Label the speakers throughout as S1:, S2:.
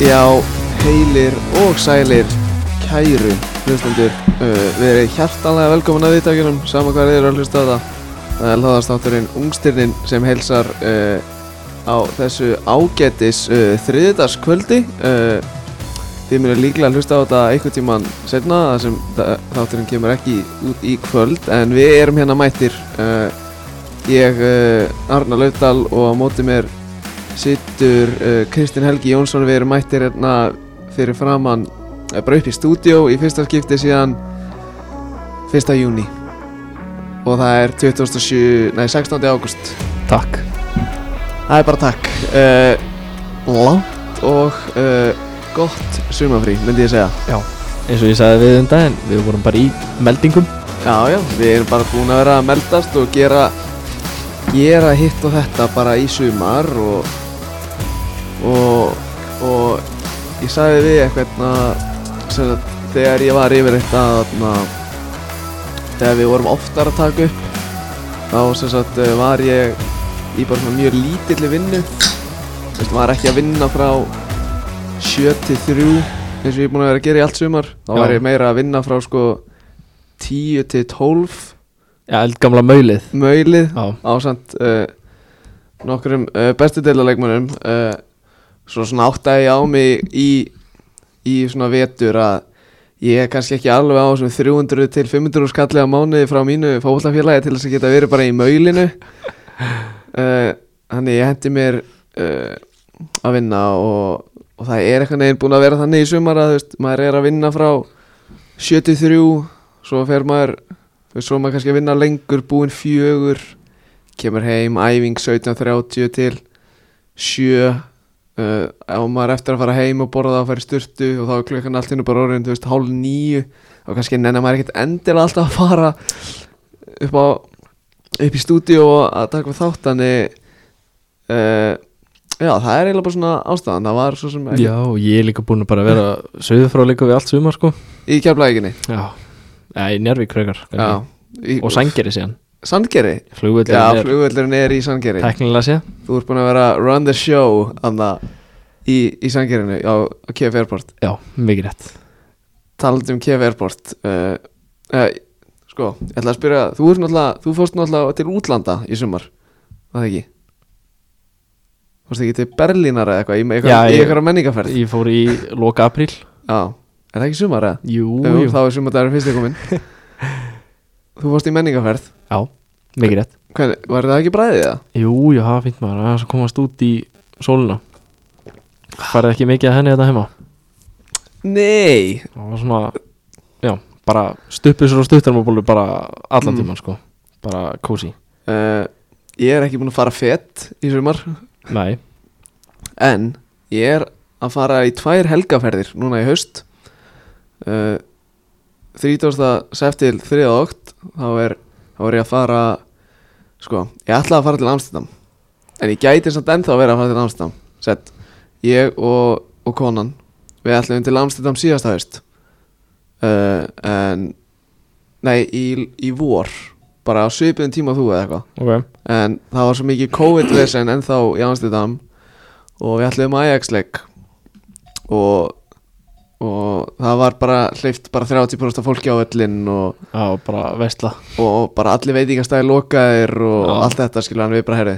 S1: Já, heilir og sælir kæru hlustendur uh, Við erum hjartanlega velkomin að viðtækjunum sama hvað þið eru að hlusta á það Það er hlaðastátturinn Ungstirnin sem heilsar uh, á þessu ágætis uh, þriðdagskvöldi uh, Þið mér er líklega að hlusta á þetta einhvern tíman setna þar sem þa- þátturinn kemur ekki út í kvöld en við erum hérna mættir uh, Ég, uh, Arna Laudal og á móti mér sittur uh, Kristinn Helgi Jónsson við erum mættir hérna fyrir framann eh, bara upp í stúdíó í fyrsta skipti síðan 1. júni og það er 27, nei 16. águst
S2: Takk
S1: það er bara takk uh, langt og uh, gott sumafrí myndi ég segja
S2: Eins og ég sagði við um daginn, við vorum bara í meldingum
S1: já já, við erum bara búin að vera að meldast og gera gera hitt og þetta bara í sumar og og, og ég sagði við eitthvað sem að þegar ég var yfir þetta þarna, þegar við vorum oftar að taka upp þá sem sagt eh, var ég í bara svona mjög lítilli vinnu Þess, var ekki að vinna frá 7 til 3 eins og ég er búin að vera að gera í allt sumar þá
S2: Já.
S1: var ég meira að vinna frá sko 10 til 12
S2: Já, eld gamla maulið
S1: maulið
S2: Já,
S1: ásamt uh, nokkrum uh, bestu deilaleikmönnum uh, svo svona áttaði ég á mig í, í svona vetur að ég er kannski ekki alveg á svona 300 til 500 skalli á mánuði frá mínu fótballafélagi til þess að geta verið bara í maulinu uh, þannig ég hendi mér uh, að vinna og, og það er eitthvað neginn búin að vera þannig í sumar að þú veist, maður er að vinna frá 73 svo fer maður þú veist, svo er maður kannski að vinna lengur búin fjögur kemur heim, æfing 17.30 til 7 uh, ef maður er eftir að fara heim og borða og fara í sturtu og þá er klukkan allt hérna bara orðin, þú veist, hálf níu og kannski nennar maður ekkert endilega alltaf að fara upp á upp í stúdíu og að taka við þátt þannig uh, já, það er eiginlega bara svona ástæðan það var svo sem ekki
S2: já og ég er líka búin að bara vera söðu frá líka við allt sumar sko
S1: í kjærflæginni
S2: Já, já í Njárvík frekar
S1: já, í,
S2: Og sængeri síðan
S1: Sandgeri
S2: Flugvöldin
S1: Já,
S2: er
S1: flugvöllurinn er í Sandgeri
S2: teknilega síðan
S1: Þú ert búin að vera að run the show anna, í, í Sandgerinu á á KF Airport
S2: Já, mikið rétt
S1: Talandi um KF Airport uh, uh, Sko, ég ætla að spyrja Þú, ert náttúrulega- þú fórst náttúrulega til útlanda í sumar Var það ekki? Fórst ekki til Berlínar eða eitthvað Í, eitthvað,
S2: Já,
S1: í
S2: ég-
S1: eitthvað menningarferð
S2: Ég fór í loka apríl
S1: Já, er það ekki sumar eða?
S2: Jú,
S1: Jú,
S2: jú
S1: Þá er sumardagur fyrst komin Þú fórst í menningarferð
S2: Já, mikið rétt
S1: Hvern, Var það ekki bræðið það?
S2: Jú, já, það var fínt maður Það er svo komast út í sóluna Farið ekki mikið að henni þetta heima
S1: Nei
S2: það var svona já, bara stuppisur og stuttarmabólu bara allan
S1: Mm.
S2: tíman sko bara kósi
S1: uh, Ég er ekki búin að fara fett í sumar
S2: nei,
S1: En ég er að fara í tvær helgaferðir núna í haust uh, 30. septil 3. okt þá er, þá er ég að fara sko, ég ætla að fara til Amsterdam en ég gæti samt ennþá að vera að fara til Amsterdam Sett, ég og, og konan við ætlum til Amsterdam síðasta haust uh, en nei, í, í vor bara á svipiðum tíma og þú eða eitthvað
S2: ok
S1: en það var svo mikið COVID-vesen ennþá í Amsterdam og við ætluðum Ajax-leik og, og það var bara hleyft bara 30% af fólki á öllin og,
S2: já, bara vestla
S1: og bara allir veitingastæði lokaðir og
S2: Já.
S1: allt þetta skilur hann við bara herri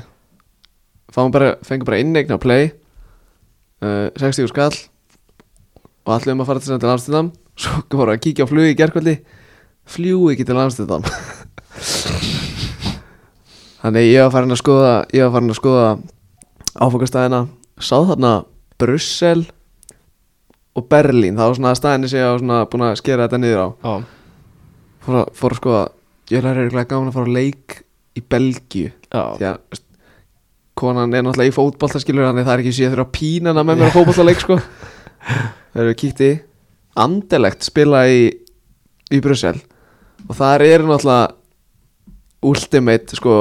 S1: fáum bara, fengum bara innegna á play uh, 60 skall og ætluðum að fara til til Amsterdam svo voru að kíkja á flugi í gerkvöldi fljú ekki til Amsterdam Þannig ég var farin að skoða Ég var farin að skoða áfokastæðina Sá þarna Brussel Og Berlín, það var svona staðinni sem ég var svona búin að skera þetta niður á
S2: já,
S1: Fór að, fór að skoða Ég lærði eitthvað gaman að fara á leik í Belgíu
S2: já,
S1: Því að veist, konan er náttúrulega í fótbolta skilur Þannig það er ekki síðan þurfa að pína hana með mér á fótboltaleik sko Það eru kíkti Andelegt spila í Í Brussel Og þar eru náttúrulega Ultimate sko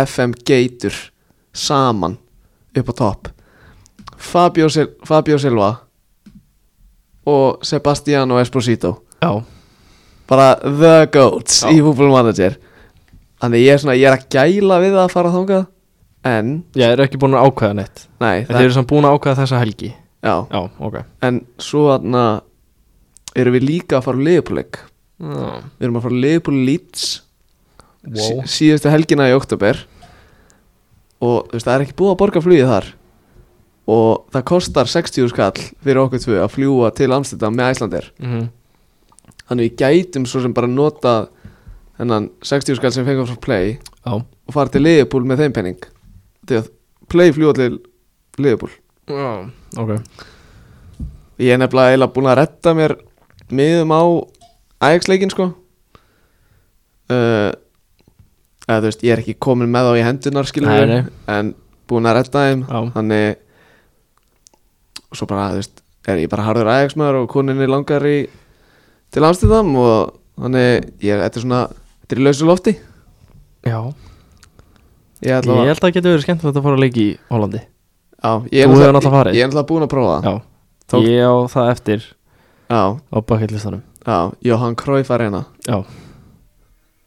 S1: FM Gator Saman Upp á topp Fabio, Sil Fabio Silva Og Sebastiano Esposito
S2: já,
S1: bara the goats
S2: Já.
S1: í Football Manager þannig ég er svona, ég er að gæla við að fara þangað en,
S2: ég er ekki búin að ákveða neitt
S1: nei
S2: en þeir eru samt búin að ákveða þessa helgi
S1: Já,
S2: Já, ok
S1: en svo þarna erum við líka að fara á liðbúleik
S2: Já.
S1: Við erum að fara á liðbúleik Leeds sí,
S2: Wow.
S1: síðustu helgina í oktober og þú veist, það er ekki búið að borga flugið þar og það kostar 60 skall fyrir okkur tvö að fljúa til Amsterdam með Æslandir
S2: Mhm.
S1: þannig við gætum svo sem bara nota þennan 60 skall sem fengum frá Play
S2: Já
S1: og fara til Liverpool með þeim penning því að Play fljúa til Liverpool
S2: Já, ok
S1: ég er nefnilega eiginlega búin að retta mér miðum á Ajax-leikin sko uh, eða þú veist, ég er ekki komin með þá í hendunar skilur
S2: Nei,
S1: við,
S2: nei.
S1: en búin að retta þeim
S2: Já.
S1: þannig svo bara, þú veist, er ég bara harður Ajax-maður og koninni langar í til Amsterdam og þannig ég er, þetta er svona, þetta er í lausu lofti
S2: Já
S1: ég ætla
S2: Ég
S1: að,
S2: held að það getur verið skemmtilegt að fara að leiki í Hollandi
S1: á, ég er
S2: Þú hefur
S1: náttúrulega-
S2: náttúrulega farið.
S1: ég er náttúrulega búin að prófa það
S2: Já
S1: Tók-
S2: Ég á það eftir
S1: já,
S2: á bakkillistanum
S1: já, Johan Cruyff Arena
S2: Já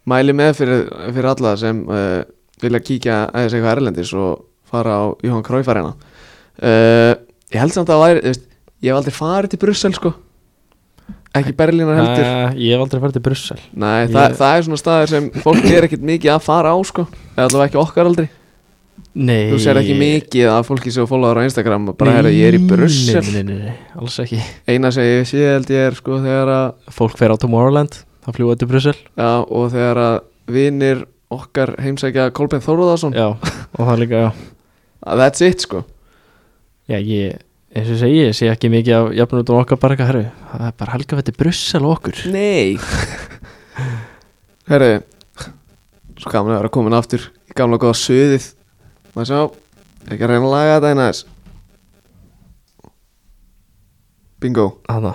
S1: mæli með fyrir, fyrir alla sem uh, vilja kíkja aðeins eitthvað erlendis og fara á Jóhann Kráifarina uh, ég held samt að það væri þú veist, ég hef aldrei farið til Brussel sko ekki Berlínar heldur
S2: Æ, Eh, Ég hef aldrei farið til Brussel
S1: nei, það,
S2: ég-
S1: það er svona staðir sem fólk er ekkit mikið að fara á sko eða allavega ekki okkar aldrei
S2: Nei
S1: þú sér ekki mikið að fólki sem fólkaður á Instagram og bara herra ég er í
S2: Nei,
S1: Brussel
S2: Nei, nei, nei, nei, alls ekki
S1: eina sem ég sé held ég er sko þegar að
S2: Fólk fer á Tomorrowland Það fljúa til Brussel
S1: já, og þegar að vinir okkar heimsækja Kolbein Þóruðarsson
S2: Já Og það líka, já
S1: that's it sko
S2: Já, ég eins og ég segi, ég sé ekki mikið af jafnum út á okkar bara eitthvað herru, það er bara helga fætti Brussel og okkur
S1: Nei Herru Svo gaman að vera komin aftur í gamla góða suðið Maður sjá Ekki að reyna að laga þetta eina þess Bingo
S2: Hanna,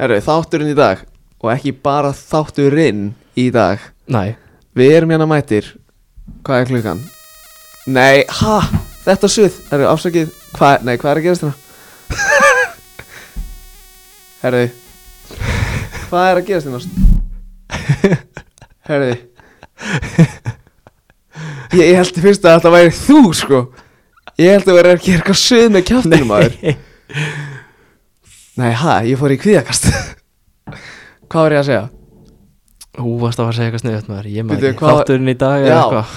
S1: Herru, þátturinn í dag Og ekki bara þátturinn í dag
S2: næ,
S1: Við erum hérna mættir Hvað er klukkan? Nei, ha, þetta suð Herru, afsakið, hva, nei, hvað er að gerast hérna? Herru Hvað er að gerast hérna? Herðu Ég, ég held fyrst að þetta væri þú sko Ég held að vera að gera eitthvað söð með kjáttinum aður Nei, ha, ég fór í kvíðakast Hvað var ég að segja?
S2: Þú varst að fara að segja eitthvað sniðut maður Ég maður
S1: Bíddu,
S2: ekki
S1: hvað-
S2: Þátturinn í dag
S1: Já.
S2: eða eitthvað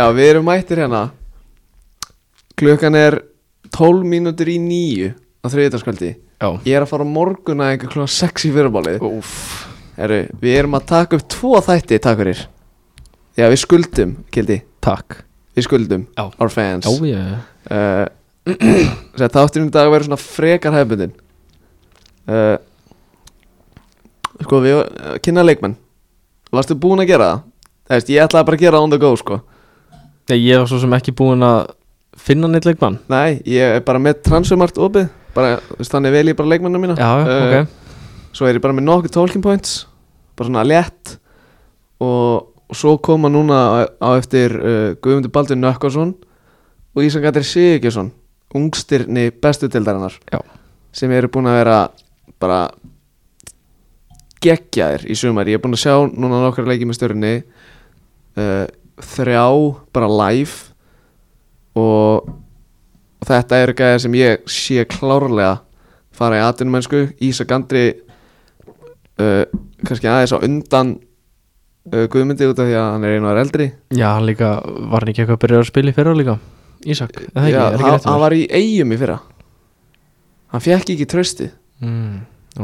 S1: Já, við erum mættir hérna Klukkan er 12 mínútur í nýju á þriðutaskvöldi
S2: Já
S1: Ég er að fara á morgun að einhver klukkan 6 í fyrirbálið
S2: Úf
S1: Herru, við erum að taka upp tvo þætti, takk fyrir Já, við skuldum, Kildi
S2: Takk
S1: Við skuldum,
S2: Já.
S1: our fans
S2: Já, ég
S1: uh, Sér þátturinn í dag verður svona frekar hefbundin uh, Sko við uh, kynna leikmenn Varstu búin að gera það? Það veist, ég ætlaði bara að gera það on the go sko
S2: Nei, ég var svo sem ekki búin að finna neitt leikmann
S1: Nei, ég er bara með transumart opið bara, þú veist, Þannig vel ég bara leikmennum mína
S2: Já,
S1: Eh,
S2: ok
S1: Svo er ég bara með nokkuð talking points Bara svona létt Og, og svo koma núna á, á eftir uh, Guðmundur Baldur Nökkvason Og Ísangatri Sigurgjesson Ungstirni bestu tildarinnar
S2: Já.
S1: Sem eru búin að vera bara Geggjaðir í sumar Ég er búin að sjá núna nokkra leiki með stjörunni uh, Þrjá Bara live Og og þetta eru gæðir sem ég sé klárlega fara í atvinnumennsku Ísak Andri uh, kannski aðeins á undan uh, Guðmundi út af því að hann er einu að er eldri
S2: Já, hann líka Var hann ekki eitthvað að byrja að spila í fyrra líka Ísak, er það ekki,
S1: Já,
S2: er ekki
S1: hann,
S2: rétt
S1: hann
S2: var...
S1: var í eigum í fyrra hann fekk ekki trösti
S2: mm,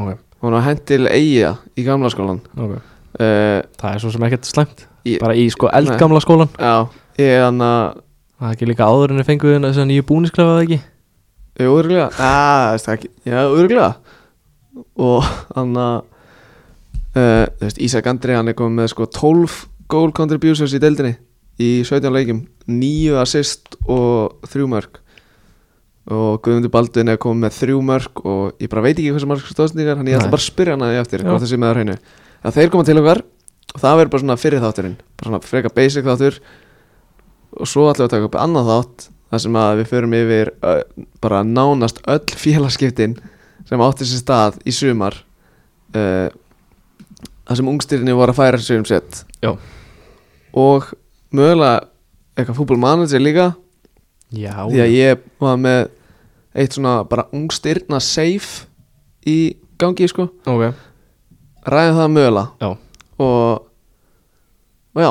S2: Ok,
S1: hún var hent til eiga í gamla skólan
S2: ok
S1: uh,
S2: Það er svo sem ekkert slæmt
S1: Ég-
S2: Bara í sko eldgamla skólan
S1: já, ég er hann að
S2: Það er ekki líka áður en við fenguð þennan þess að nýju búnisklefa það ekki
S1: Jú, örgulega ah, það er ekki- Já, örgulega Og hann að uh, þú veist, Ísak Andri, hann er komið með sko 12 goal contributions í deildinni Í 17 leikjum 9 assist og 3 mörg Og Guðmundur Baldvin er komið með 3 mörg Og ég bara veit ekki hversu marg stóðsendingar Þannig ég ætla
S2: Nei.
S1: bara að spyrja hann að því eftir
S2: Já.
S1: Hvað það sé með það á hreinu að Þeir koma til okkar Og það verður bara svona fyrir þátturinn Bara svona freka basic þáttur og svo ætlum við að taka upp annað þátt þar sem að við förum yfir ö, bara nánast öll félagskiptin sem átti sér stað í sumar uh, þar sem ungstyrinu voru að færa sér um sett
S2: Já.
S1: og mögulega eitthvað fútbolmanager líka
S2: Já,
S1: því að ég var með eitt svona bara ungstyrna safe í gangi sko
S2: ok,
S1: ræðum það mögulega
S2: já,
S1: og, og já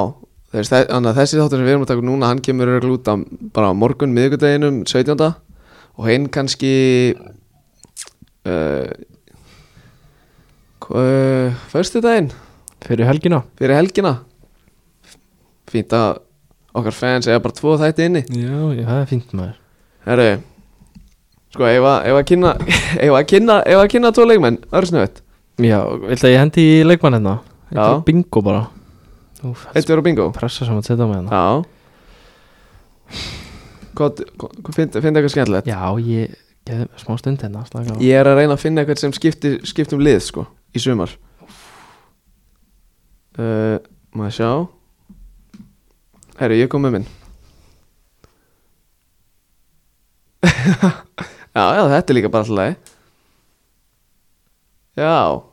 S1: þú veist, þe- þannig að þessi þáttur sem við erum að taka núna hann kemur örugglega út á bara á morgun miðvikudeginum 17. og hinn kannski uh, uh, fyrstu daginn
S2: fyrir helgina
S1: fyrir helgina fínt að okkar fans eða bara tvo þætti inni
S2: já, já, það er fínt maður
S1: herru sko ef að ef að kynna ef að kynna ef að kynna tvo leikmenn örsnöðt
S2: já, viltu að ég hendi í leikmann hérna
S1: Já.
S2: já. bingo bara Úf,
S1: eitt verður bingo
S2: pressa saman að setja með hérna
S1: Já Hvað, hvað, hvað finn, finn eitthvað skemmtilegt?
S2: já, ég geði smá stund hérna slaka á.
S1: Ég er að reyna að finna eitthvað sem skipti, skipti um lið sko, í sumar uh, Maður sjá Herru, ég kom með minn Já, já, þetta er líka bara alltaf lagi Já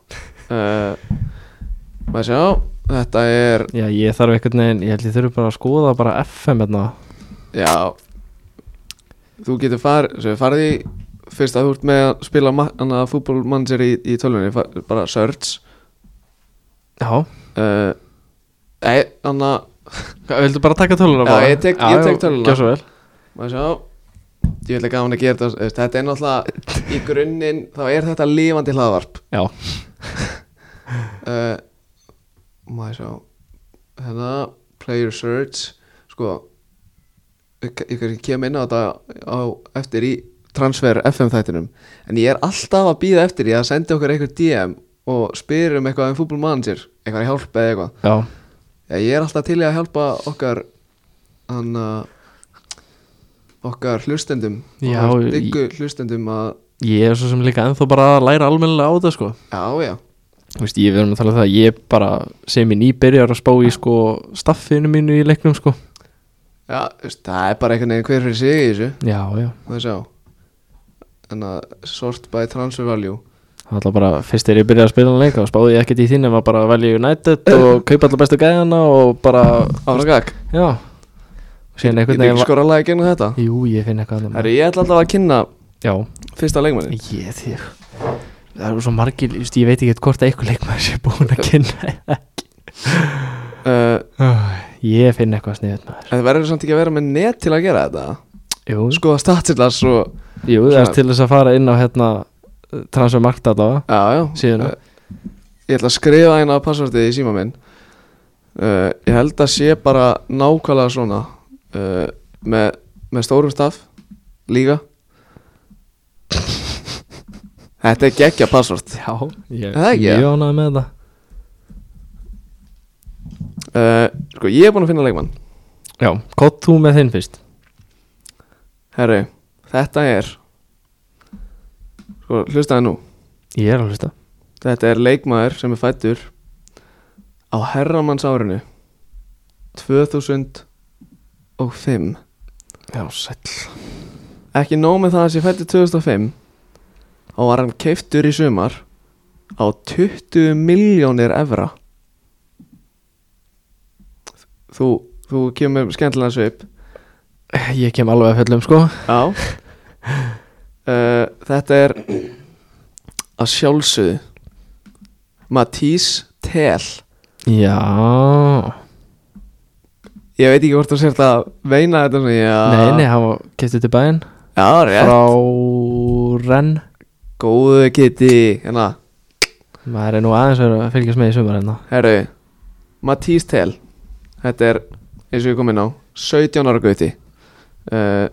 S1: uh, Maður sjá Þetta er,
S2: já, ég þarf einhvern veginn, ég held ég þurfi bara að skoða bara FM hérna
S1: já Þú getur farið, svo farið í Fyrst að þú ert með að spila ma- fútbolmanager í, í tölvunni fa- Bara search
S2: já,
S1: Uh, Nei, þannig að
S2: Hvað, viltu bara taka töluna
S1: Já,
S2: bara?
S1: ég tek- ég tek töluna.
S2: gjörðu svo vel
S1: Maður sjá Ég vil ekki gaman að gera þetta þú veist, Þetta er náttúrulega Í grunninn Þá er þetta lifandi hlaðvarp
S2: já,
S1: uh, Maður sjá Hérna Player search Sko Ég ég kannski kem inn á þetta á, Eftir í Transfer FM þættinum En ég er alltaf að býða eftir Ég að senda okkur einhver DM Og spyr um eitthvað um fútbolmanager Eitthvað hjálpa eða eitthvað
S2: já,
S1: Já, ég er alltaf til í að hjálpa okkar hann uh, okkar hlustendum
S2: Já,
S1: okkar
S2: ég-
S1: diggu hlustendum að
S2: ég er svo sem líka ennþá bara að læra almennilega á þetta sko
S1: já, já,
S2: Þú veist, ég verður að tala um það að ég bara sem ég nýbyrjar að spá í sko staffinu mínu í leiknum sko
S1: já þú veist, það er bara einhvern veginn hver fyrir sig í þessu
S2: Já, já,
S1: það sjá en að sort by transfer value
S2: það er alltaf bara fyrst er ég byrjað að spila hann leika og spáði ég ekkert í þín en var bara að velja United og kaupa alltaf bestu gæðana og bara,
S1: ára gag,
S2: já og
S1: ég
S2: síðan einhvern
S1: ekki
S2: veginn var
S1: skora lagi genið þetta
S2: Jú, ég finn eitthvað annað
S1: Herri, ég ætla alltaf að kynna
S2: Já,
S1: fyrsta leikmannin
S2: ég þig Það eru svo margir, þú veist, ég veit ekki hvort að eitthvað leikmaður sé búin að kynna
S1: uh,
S2: Ég finn eitthvað hérna. sniðut maður
S1: en það verður samt ekki að vera með net til að gera þetta
S2: Jú,
S1: skoða statsillars og
S2: jú það er til þess að fara inn á hérna transfermarkt að
S1: já, já, Eh,
S2: síðuna
S1: Ég ætla að skrifa eina af passvortið í síma minn uh, Ég held að sé bara nákvæmlega svona uh, með, með stórum staf líka Þetta er geggja passvort
S2: Já, ég
S1: Það ekki,
S2: ég ánaði með það
S1: uh, Sko, ég er búinn að finna leikmann
S2: Já, hvað þú með þinn fyrst?
S1: Herru, þetta er Sko, hlustaði nú
S2: Ég er að hlusta
S1: Þetta er leikmaður sem er fættur á herramannsárinu 2005
S2: Já, sæll
S1: Ekki nóg með það að sé fættur 2005 þá var hann keiftur í sumar á 20 miljónir evra Þú, þú kemur skemmtilega svip
S2: Ég kem alveg að fjöllum sko
S1: Já uh, Þetta er að sjálfsögðu Matís Tel
S2: Já
S1: Ég veit ekki hvort þú sért að veina þetta svona, já,
S2: Nei, nei, hann var kiptið til bæinn
S1: Já, rétt
S2: Frá Renn
S1: Góðu Kitty Hérna,
S2: Maður er nú aðeins verið að fylgjast með í sumar hérna
S1: Herru, Matís Tel Þetta er, eins og ég kom inn á 17 ára gauti uh,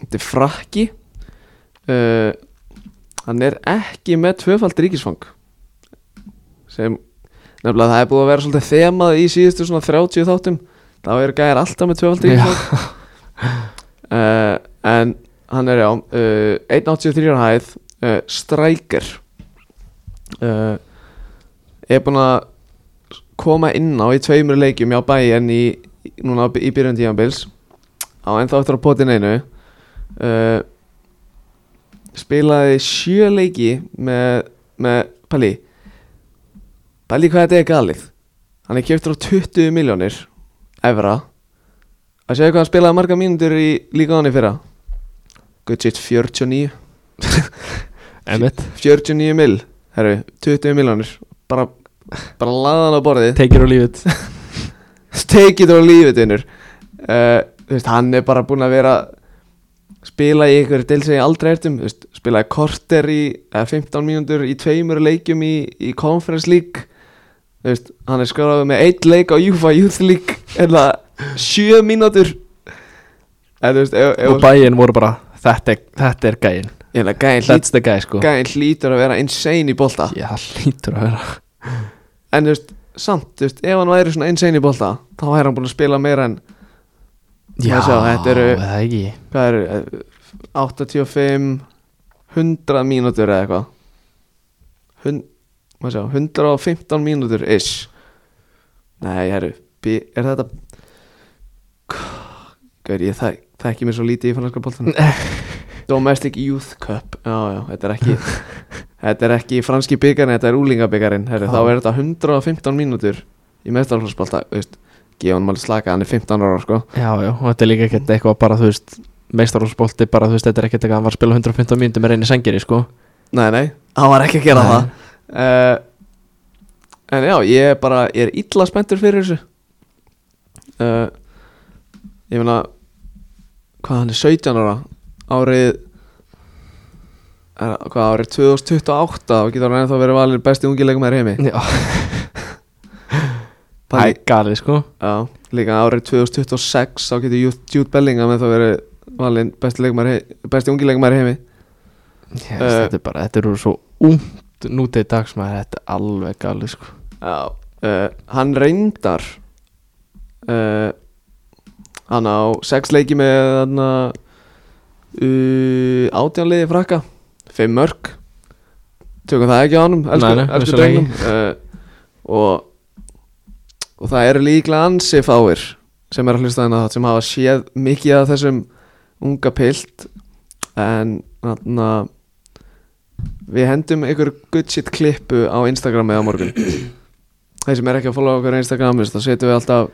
S1: Þetta er frakki uh, Hann er ekki með tvöfald ríkisfang sem nefnilega það er búið að vera svolítið þemað í síðustu svona 30 þáttum þá eru gæjar alltaf með tvöfald ríkisfang uh, En hann er já uh, 183 hæð uh, Strækir uh, er búinn að koma inn á í tveimur leikjum hjá Bayern í, núna í byrjun tímanbils á ennþá eftir að potin einu uh, spilaði sjö leiki með, með Palli Palli hvað þetta er galið hann er kjöptur á 20 miljónir evra að segja hvað hann spilaði marga mínútur í líka hann í fyrra Guttsitt 49
S2: Emmett,
S1: 49 mil, herru, 20 miljonir bara, bara laðan á borðið
S2: take it or leave it
S1: take it or leave it innur uh, þú veist, hann er bara búinn að vera spila í einhverju del sem ég aldrei heyrt um, þú veist, spilaði korter í eða 15 mínútur í tveimur leikjum í, í Conference League þú veist, hann er skoraði með eitt leik á UEFA Youth League eða sjö mínútur eða þú veist ef, ef,
S2: Og bæinn voru bara, þetta er, þetta er gæinn
S1: ég held að gæðin hlýt,
S2: That's the guy sko
S1: gæðin hlýtur að vera insane í bolta
S2: Já, það lítur að vera
S1: en þú veist, samt, þú veist, ef hann væri svona insane í bolta, þá væri hann búinn að spila meira en
S2: Já,
S1: sjá, þetta eru-
S2: það ekki
S1: hvað eru eh, 85 100 mínútur eða eitthvað Hun- má sjá, 115 mínútur ish nei, herru bí- er þetta Gauður, ég þek, þekki mér svo lítið í franska boltan Domestic Youth Cup já, já, þetta er ekki þetta er ekki franski byggarinn, þetta er úlingabyggarinn herru, þá er þetta 115 mínútur í mestarflossbolta, veist Geon Mali Slaka, hann er 15 ára sko
S2: Já, já, og þetta er líka ekkert eitthvað bara, þú veist meistarhúsbolti, bara þú veist, þetta er ekkert eitthvað hann var að spila 115 mínútur með reyni sengiri, sko
S1: Nei, nei, hann var ekki að gera
S2: Nei.
S1: það uh, En já, ég er bara, ég er illa spenntur fyrir þessu uh, Ég meina, hvað hann er 17 ára Árið, er, hvað árið 2028 Þá getur hann ennþá verið valin besti ungilegum er heimi
S2: Já, það
S1: Þannig-
S2: er galið, sko
S1: Já, líka árið 2026 Þá getur Jude- Jude Bellingham ennþá verið valin besti, leikmaður hei- besti ungilegum er heimi
S2: yes,
S1: Eh.
S2: Þetta er bara, þetta eru svo úmt nútið dags, maður, þetta er alveg galið, sko
S1: Já, uh, hann reyndar uh, Hann á sex leiki með hann að uh, átjánliði frakka Fimm mörg Tökum það ekki á honum, elsku,
S2: Nei, nei,
S1: elsku
S2: vissulega
S1: drengum uh, og, og það eru líklega ansi fáir sem er að hlusta þennan þátt sem hafa séð mikið af þessum unga pilt en þarna við hendum einhver good shit klippu á Instagram eða morgun þeir sem er ekki að followa okkur á Instagram þú veist, þá setjum við alltaf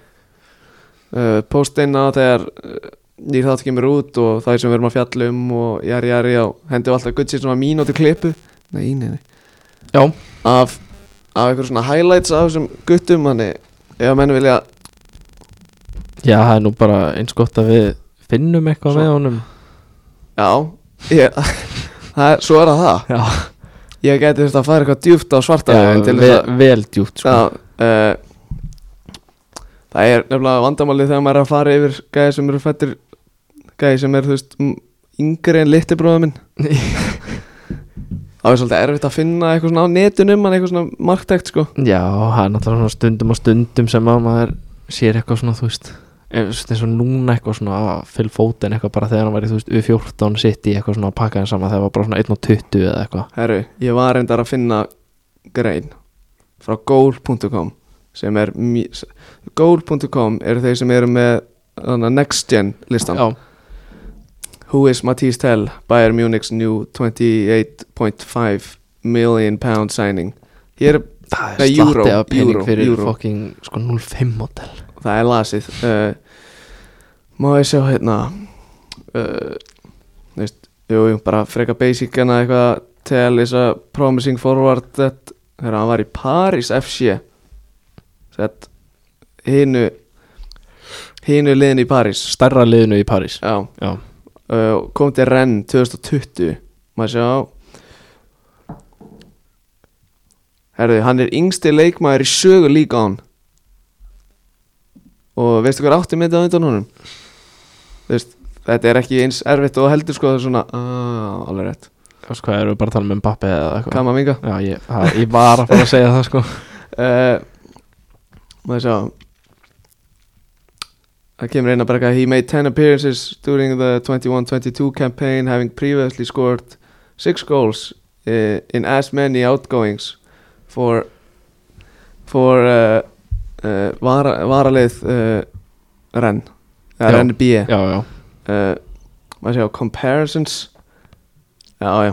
S1: uh, post inn á þegar uh, nýr þátt kemur út og það sem við erum að fjalla um og jari jari á hendum við alltaf good shit svona mínúti klippu nei, nei, nei
S2: Já,
S1: af, af einhver svona highlights af þessum guttum þannig ef að menn vilja
S2: já, það er nú bara eins gott að við finnum eitthvað
S1: Svo-
S2: með honum
S1: já ég, það er, svo er það það
S2: Já,
S1: ég geti þurft að fara eitthvað djúpt á svarta veginn til
S2: vel,
S1: þess að
S2: vel djúpt, sko
S1: já, uh, það er nefnilega vandamálið þegar maður er að fara yfir gæði sem eru fættir gæði sem er þú veist m- yngri en litli bróða minn það er svolítið erfitt að finna eitthvað svona á netunum hann eitthvað svona marktækt sko
S2: Já, það er náttúrulega svona stundum og stundum sem að maður sér eitthvað svona, þú veist eins eins og núna eitthvað svona að fyll fótinn eitthvað bara þegar hann var í, þú veist, U14 sitt í eitthvað svona að pakka hann saman þegar var bara svona 1 og 20 eða eitthvað
S1: Herru, ég var reyndar að finna grein frá goal.com sem er mj- s- goal.com eru þeir sem eru með þarna, next gen listan
S2: Já,
S1: Who is Matisse Tell Bayern Munich's new 28.5 million pound signing Hér, er-
S2: það
S1: Nei,
S2: er
S1: euro,
S2: slatti af pening
S1: euro,
S2: fyrir
S1: euro.
S2: fucking sko 05 model
S1: það er lasið uh, Má ég sjá hérna uh, veist, Jú, jú, bara freka basic en að eitthvað Tell is a promising forward that Þegar hann var í Paris FC Sett hinu hinu liðin í Paris
S2: Stærra liðinu í París
S1: Já
S2: Já,
S1: uh, kom til Rennes 2020 maður sjá herðu, hann er yngsti leikmaður í sögu líka án og veistu hver átti með þetta á undan honum Þú veist, þetta er ekki eins erfitt og heldur sko það er svona, aaa, alveg rétt
S2: þú veist hvað, erum við bara að tala um Mbappi eða eitthvað
S1: kama minga
S2: Já, ég, það, ég var að fara að segja það sko
S1: uh, maður sjá það kemur inn að bara he made 10 appearances during the 21-22 campaign having previously scored 6 goals uh, in as many outgoings for for uh, uh, vara, varalið uh, renn
S2: Já.
S1: eða renn B
S2: Já, já,
S1: uh, maður sjá comparisons já já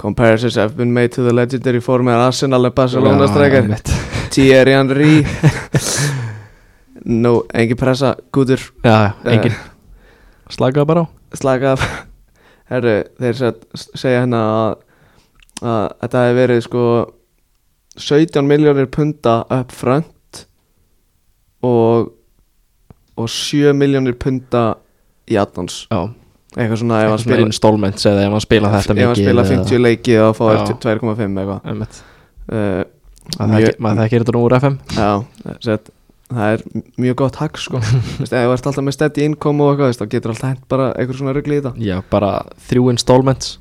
S1: comparisons have been made to the legendary former Arsenal and Barcelona
S2: Já,
S1: striker
S2: einmitt.
S1: Thierry Henry Nú, engin pressa, gútur
S2: Já, engin Slakaði bara á
S1: Slaka af herru, þeir satt, segja hérna að, að þetta hefði verið sko 17 miljónir punda upp front og og 7 miljónir punda í addons
S2: já,
S1: eitthvað svona ef
S2: eitthvað
S1: hann
S2: svona
S1: spila,
S2: installments eða ef hann spila þetta
S1: ef hann
S2: mikið
S1: spila 50 leiki og fá
S2: Já.
S1: 2,5 eitthvað
S2: einmitt,
S1: uh,
S2: að það
S1: Mjög-
S2: ekki- maður þekkir þetta nú úr FM
S1: Já, sett, Eh, það er m- mjög gott hagg sko Vist, Ef þú ert alltaf með steady income og eitthvað veist, þá getur alltaf hent bara einhver svona rugli í þetta
S2: já, bara þrjú installments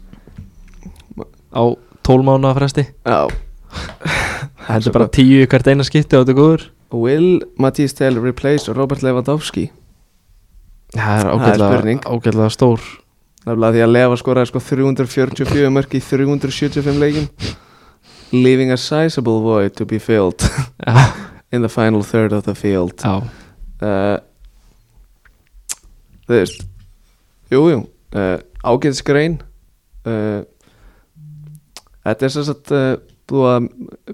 S2: á 12 mánuða fresti
S1: Já
S2: hendur bara 10 í hvert eina skipti og þetta er góður
S1: Will Matisse Taylor replace Robert Lewandowski?
S2: það er
S1: Það er spurning.
S2: ágætlega, ágætlega stór
S1: Nefnilega því að Leva skoraði sko 344 mörg í 375 leikum Leaving a sizable void to be filled
S2: já,
S1: in the final third of the field
S2: já,
S1: uh, Þú veist Jú, jú uh, Ágæðsgrein uh, Þetta er sem sagt uh, Þú að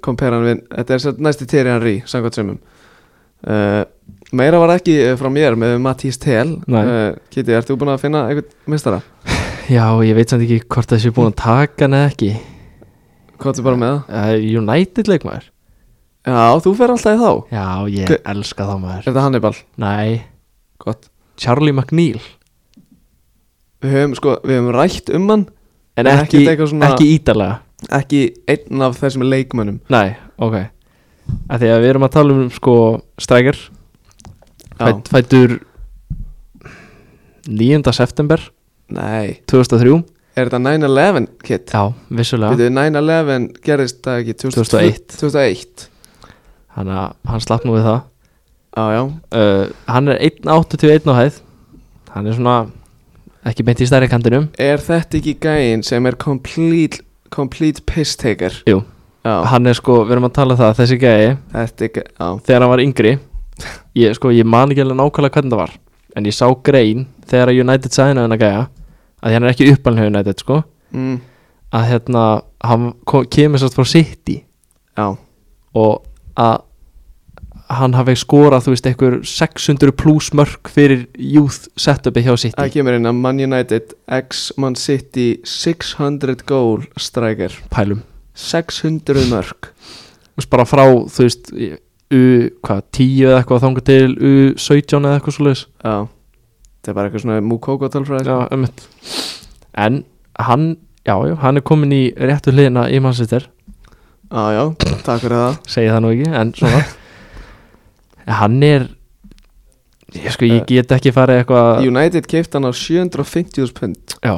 S1: kompera hann við Þetta er sem sagt næsti Tyrion Rí Samkvæmt sömum uh, Meira var ekki uh, frá mér með Matís Tel
S2: Nei.
S1: Kitty, ert þú búin að finna einhvern mistara?
S2: já, ég veit samt ekki hvort þessi er búin að taka hann eða ekki
S1: Hvað er bara með það?
S2: uh, United leikmaður
S1: Já, þú fer alltaf í þá
S2: já, ég
S1: Hver-
S2: elska þá
S1: Er
S2: maður
S1: þetta Hannibal?
S2: nei,
S1: Gott
S2: Charlie McNeil
S1: Við höfum, sko, við höfum rætt um hann
S2: en
S1: En
S2: ekki,
S1: ekkert eitthvað svona-
S2: ekki ítalega
S1: Ekki einn af þessum leikmönnum
S2: nei, ok að því að við erum að tala um sko strækjar
S1: Já,
S2: fætt, fættur 9. september
S1: nei
S2: 2003
S1: Er þetta 9-11 kit?
S2: já, vissulega
S1: Býtu, 9-11 gerðist það ekki
S2: 2001.
S1: 2001
S2: hann, hann slapp nú við það
S1: Já, já,
S2: uh, hann er 1.81 á hæð hann er svona ekki beint í stærri kantinum
S1: er þetta ekki gæinn sem er complete, complete piss taker?
S2: Jú.
S1: Já,
S2: hann er sko, við erum að tala um það, þessi gæi
S1: þetta er gæ- já,
S2: þegar hann var yngri ég, sko, ég man ekki alveg nákvæmlega hvernig það var en ég sá grein þegar að United sæðina hann að gæja að því hann er ekki uppalinn hjá United sko
S1: mm,
S2: að hérna, hann kom, kemur sérst frá City
S1: já,
S2: og að hann hafi skorað, þú veist, einhver 600 pluss mörk fyrir youth setupi hjá City
S1: það kemur inn að Man United X Man City 600 goal striker
S2: pælum
S1: 600 mörg
S2: Þú veist, bara frá þú veist í- U, hvað, 10 eða eitthvað þangu til U17 eða eitthvað svo leiðis
S1: Já, þetta er bara eitthvað svona múkókó tölfræði
S2: já, ömmit en hann, já, já, hann er komin í réttu hliðina í mannsveitir
S1: Já, já, takk fyrir það
S2: segi það nú ekki, en svona En hann er ég sko, ég get ekki farið eitthvað
S1: United keipt hann á 750.000 pund
S2: já,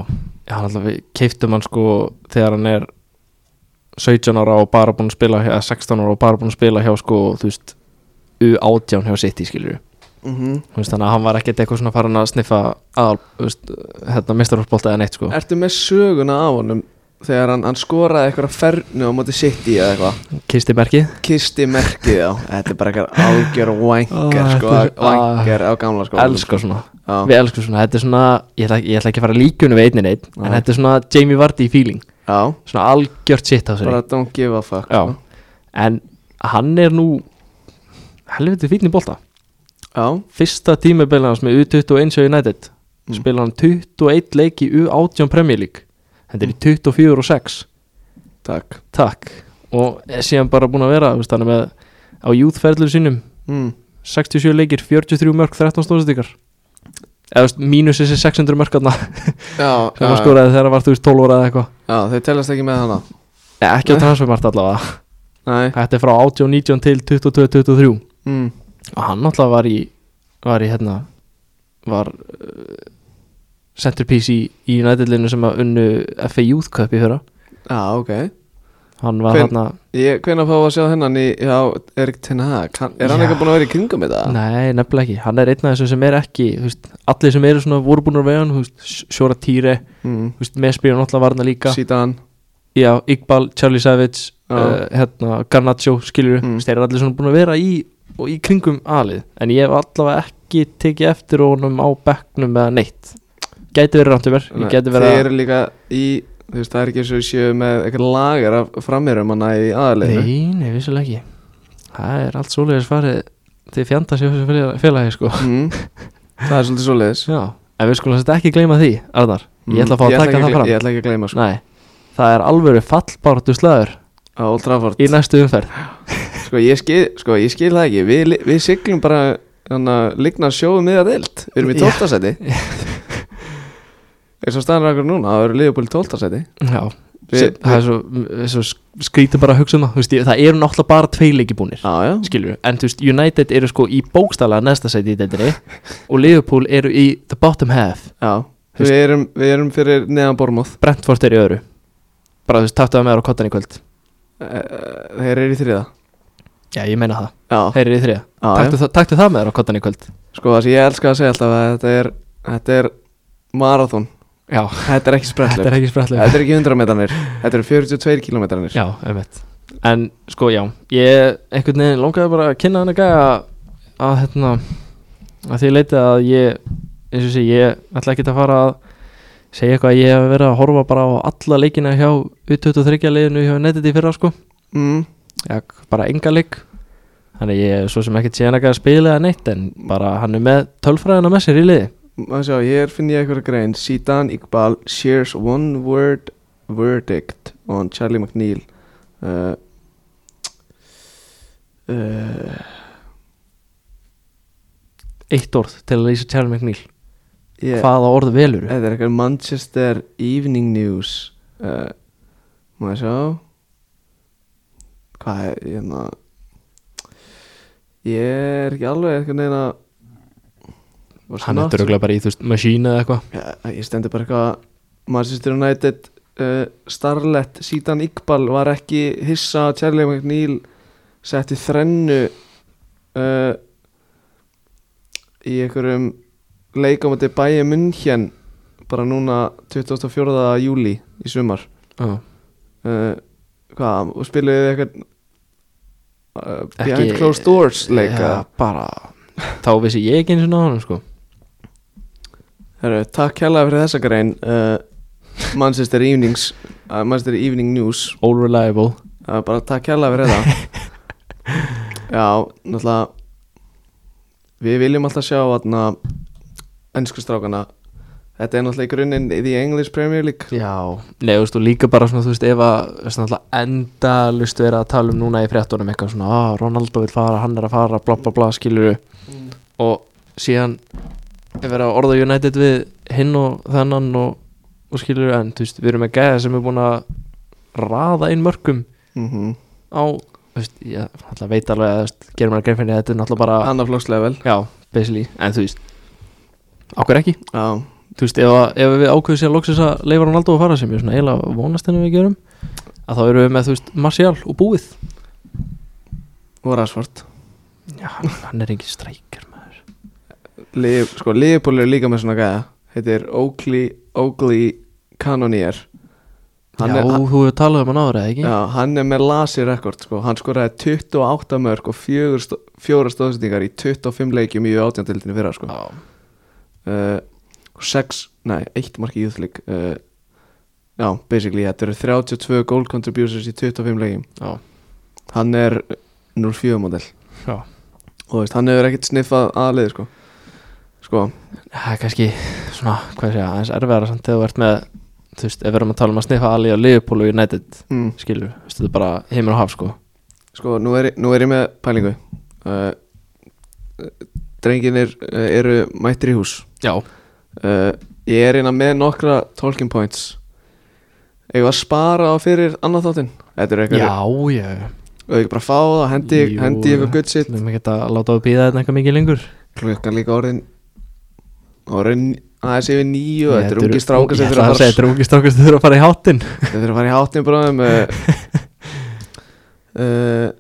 S2: já, hann alltaf við keiftum hann sko þegar hann er 17 ára og bara búin að spila hjá, eða 16 ára og bara búin að spila hjá sko, þú veist U18 hjá City, skilur
S1: mm
S2: Þú veist, þannig að hann var ekkert eitthvað svona farin að sniffa aðal, þú veist, hérna mistarhópsbólta eða neitt sko
S1: Ertu með söguna á honum þegar hann, hann skoraði eitthvað fernu á móti City eða eitthvað
S2: kisti merkið
S1: Kisti merkið á Þetta er bara eitthvað algjör wanker
S2: Ah,
S1: sko,
S2: þetta er-
S1: Wanker á gamla sko
S2: elskar svona,
S1: Já,
S2: við elskum svona þetta er svona, ég ætla, ekki- ég ætla ekki að fara að líkunum við einni neitt, en
S1: Nei.
S2: þetta er svona Jamie Vardy feeling,
S1: já
S2: svona algjört sitt á sér
S1: bara don't give a fuck
S2: já,
S1: sko.
S2: en hann er nú helviti fínni bólta
S1: já,
S2: fyrsta tímabili hans með U21 hjá United mm. spila hann 21 leik í U18 Premier League þetta er
S1: Mm.
S2: í 24 og 6
S1: takk
S2: takk og er síðan bara búin að vera þú veist, hann er með á júðferðlur sínum
S1: mm.
S2: 67 leikir, 43 mörg, 13 stóðsendingar eða þú veist, mínus þessi 600 mörg aðna
S1: Já,
S2: sem hann
S1: já,
S2: skoraði þegar hann var þú veist 12 óra eða eitthvað
S1: já, þau telast ekki með hana
S2: Nei, ekki á transfermart allavega
S1: Nei,
S2: þetta er frá 18, 19 til 22, 23
S1: mm.
S2: og hann alltaf var í var í hérna var uh, centerpiece í, í United-linu sem að unnu FA Youth Cup í fyrra
S1: já, ok
S2: hann var
S1: Hver-
S2: hérna,
S1: Ég, hvenær fá að sjá hennan í, já, Erik Ten Hag Hann- Er hann
S2: Já.
S1: eitthvað búin að vera í kringum þetta?
S2: nei nefnilega ekki hann er einn af þessum sem er ekki þú veist, allir sem eru svona vorbúnur vegan Sjóra Týre,
S1: mm.
S2: Mesbjörn alltaf varna líka
S1: Sítan,
S2: Já, Iqbal, Charlie Savage
S1: Já.
S2: uh, hérna, Garnaccio, skilur
S1: Mm.
S2: mm. þeir eru allir svona búin að vera í og í kringum alið, en ég hef allavega ekki tekið eftir honum á bekknum eða neitt, gæti verið ráttumver ég gæti verið
S1: Þið
S2: að,
S1: eru líka í Þú veist, það er ekki eins og þið séu með eitthvað lagar af framherjum hana í aðaleginu
S2: nei, nei, vissulega ekki það er allt svoleiðis farið þið fjanda sér þessu félagi, félagi sko
S1: mm. Það er svolítið svoleiðis
S2: já, en við skulum þetta ekki gleyma því Arnar, Ég ætla að fá að taka
S1: ekki
S2: það
S1: gle-
S2: fram.
S1: Ég ætla ekki að gleyma sko
S2: Nei, það er alvöru fallbáratu slagur
S1: Á Old Trafford
S2: í næstu umferð
S1: Sko ég skil, sko, ég skil það ekki Við, li- við siglum bara Þannig að ligna sjóum miða deild Við erum í
S2: Já.
S1: tóltasæti Eins og staðan rækur núna Það eru liðbúli tóltasæti
S2: Já,
S1: Við-
S2: sem- það er svo, svo skrítið bara að hugsa um það þú veist, ég- Það eru náttúrulega bara tvei leiki búnir
S1: Já, já
S2: skilur, en þú veist, United eru sko í bókstala næsta sæti í deildinni og Liverpool eru í the bottom half
S1: Já
S2: Þú veist-
S1: Við erum, við erum fyrir neðan Bormóð
S2: Brentford er í öðru bara þú veist, taktu það með þér á kottan í kvöld
S1: Eh, Þeir eru í þriða
S2: já, ég meina það,
S1: Já,
S2: þeir eru í þriða
S1: já, já.
S2: taktu, það- taktu það með þér á kottan í kvöld
S1: Sko það sem ég elska að segja alltaf að Þetta er, þetta er marathon
S2: já,
S1: Þetta er ekki
S2: þetta
S1: sprettlur
S2: er ekki sprætlega
S1: Þetta er ekki 100 metranir Þetta eru 42 kilometranir
S2: já, einmitt en sko, já, ég einhvern veginn longaði bara að kynna hann að gæja að hérna að því leiti að ég eins og sé, ég ætla ekki að fara að segja eitthvað að ég hef verið að horfa bara á alla leikina hjá U23 leiðinu hjá United í fyrra sko
S1: mm,
S2: Já, bara enga leik Þannig ég er svo sem ekkert síðan ekki að spila eða neitt En bara hann er með tölfræðina með sér í liði
S1: Má sjá, hér finn ég eitthvað grein Sidan Iqbal shares one word verdict on Charlie McNeil uh, uh,
S2: Eitt orð til að lýsa Charlie McNeil
S1: yeah.
S2: Hvaða orð velur
S1: Þetta er eitthvað Manchester Evening News uh, Má ég sjá Hvað er, ég hérna Ég er ekki alveg eitthvað neina
S2: Hann er dröglega bara í þú veist Machine eða eitthvað
S1: Ég stendur bara eitthvað Manchester United uh, Starlet Sítan Iqbal var ekki hissa að Charlie McNeil setti þrennu uh, í einhverjum leikamöndi bæja munnhjen bara núna 24. júli í sumar
S2: Já.
S1: uh, hvað, og spiluðu þið eitthvað uh, behind
S2: Ekki-
S1: closed doors leika
S2: Já, Bara Þá vissi ég ekki eins og náðan sko
S1: Herru, takk hérlega fyrir þessa grein uh, Manchester Evenings uh, Manchester Evening News
S2: All reliable
S1: uh, bara takk hérlega fyrir þetta Já, náttúrulega við viljum alltaf sjá atna, ennsku strákana þetta er náttúrulega í grunninn í The English Premier League
S2: Já Nei, þú veist, og líka bara svona, þú veist, ef að þú veist, náttúrulega endalust verið að tala um núna í fréttunum eitthvað svona, að Ronaldo vil fara, hann er að fara, bla bla bla, skilur og síðan er verið að orða United við hinn og þennan og, og skilur en þú veist, við erum með gæða sem er búin að raða inn mörgum
S1: mm -hmm.
S2: á, þú veist, ég ætla að veit alveg að þú veist, gerum að grein fyrir því að þetta er náttúrulega bara
S1: Annaflókslevel
S2: já, basically, en þú veist okkur ekki,
S1: Já,
S2: þú veist, ef, að- ef við ákveðum sér loksins að leifa Ronaldo að fara sem ég svona eiginlega vonast henni við gerum að þá erum við með, þú veist, Martial og búið
S1: og Rashford
S2: já, hann- hann er engin streikur maður
S1: Liv, sko, Liverpool er líka með svona gæða heitir Oakley, Oakley Cannonier hann,
S2: já,
S1: er, hann,
S2: þú hefur talað um hann ára, eða ekki?
S1: já, hann er með lasi rekord sko. hann skoraði 28 mörg og fjögur stó, fjóra stóðsendingar í 25 leikjum í átjándildinu fyrra sko.
S2: já.
S1: uh, og 6, nei, 1 mark í júðleik uh, já, basically þetta eru 32 goal contributions í 25 leikjum
S2: Já.
S1: hann er 0-4 model
S2: Já.
S1: og þú veist, hann hefur ekkert sniffað aðlið sko, sko
S2: Það er kannski svona, hvað sé ég, aðeins erfiðara samt þegar þú ert með, þú veist, ef við erum að tala um að sniffa Ali og Liverpool og United,
S1: mm.
S2: skilur, þú veist, þetta er bara heimur og haf, sko.
S1: Sko, nú er, nú er ég með pælingu uh, Drenginir uh, eru mættir í hús
S2: Já.
S1: uh, Ég er einna með nokkra talking points Ég var að spara á fyrir annað þáttinn Þetta er eitthvað
S2: Já, já,
S1: Og ég bara fá það og hendi,
S2: Jú,
S1: hendi ég eitthvað gutt sitt
S2: við erum ekki að láta á að býða þetta eitthvað mikið lengur.
S1: Klukkan líka orðin Orðin aðeins yfir nýju
S2: Nei,
S1: Þetta er
S2: eru-
S1: ungi stráka sem
S2: Ég
S1: fyrir
S2: ætla
S1: að
S2: að segja,
S1: fara
S2: þetta er ungi strákar sem þurfa að fara í hátinn.
S1: Þetta fyrir að fara í hátni bráðum uh, uh,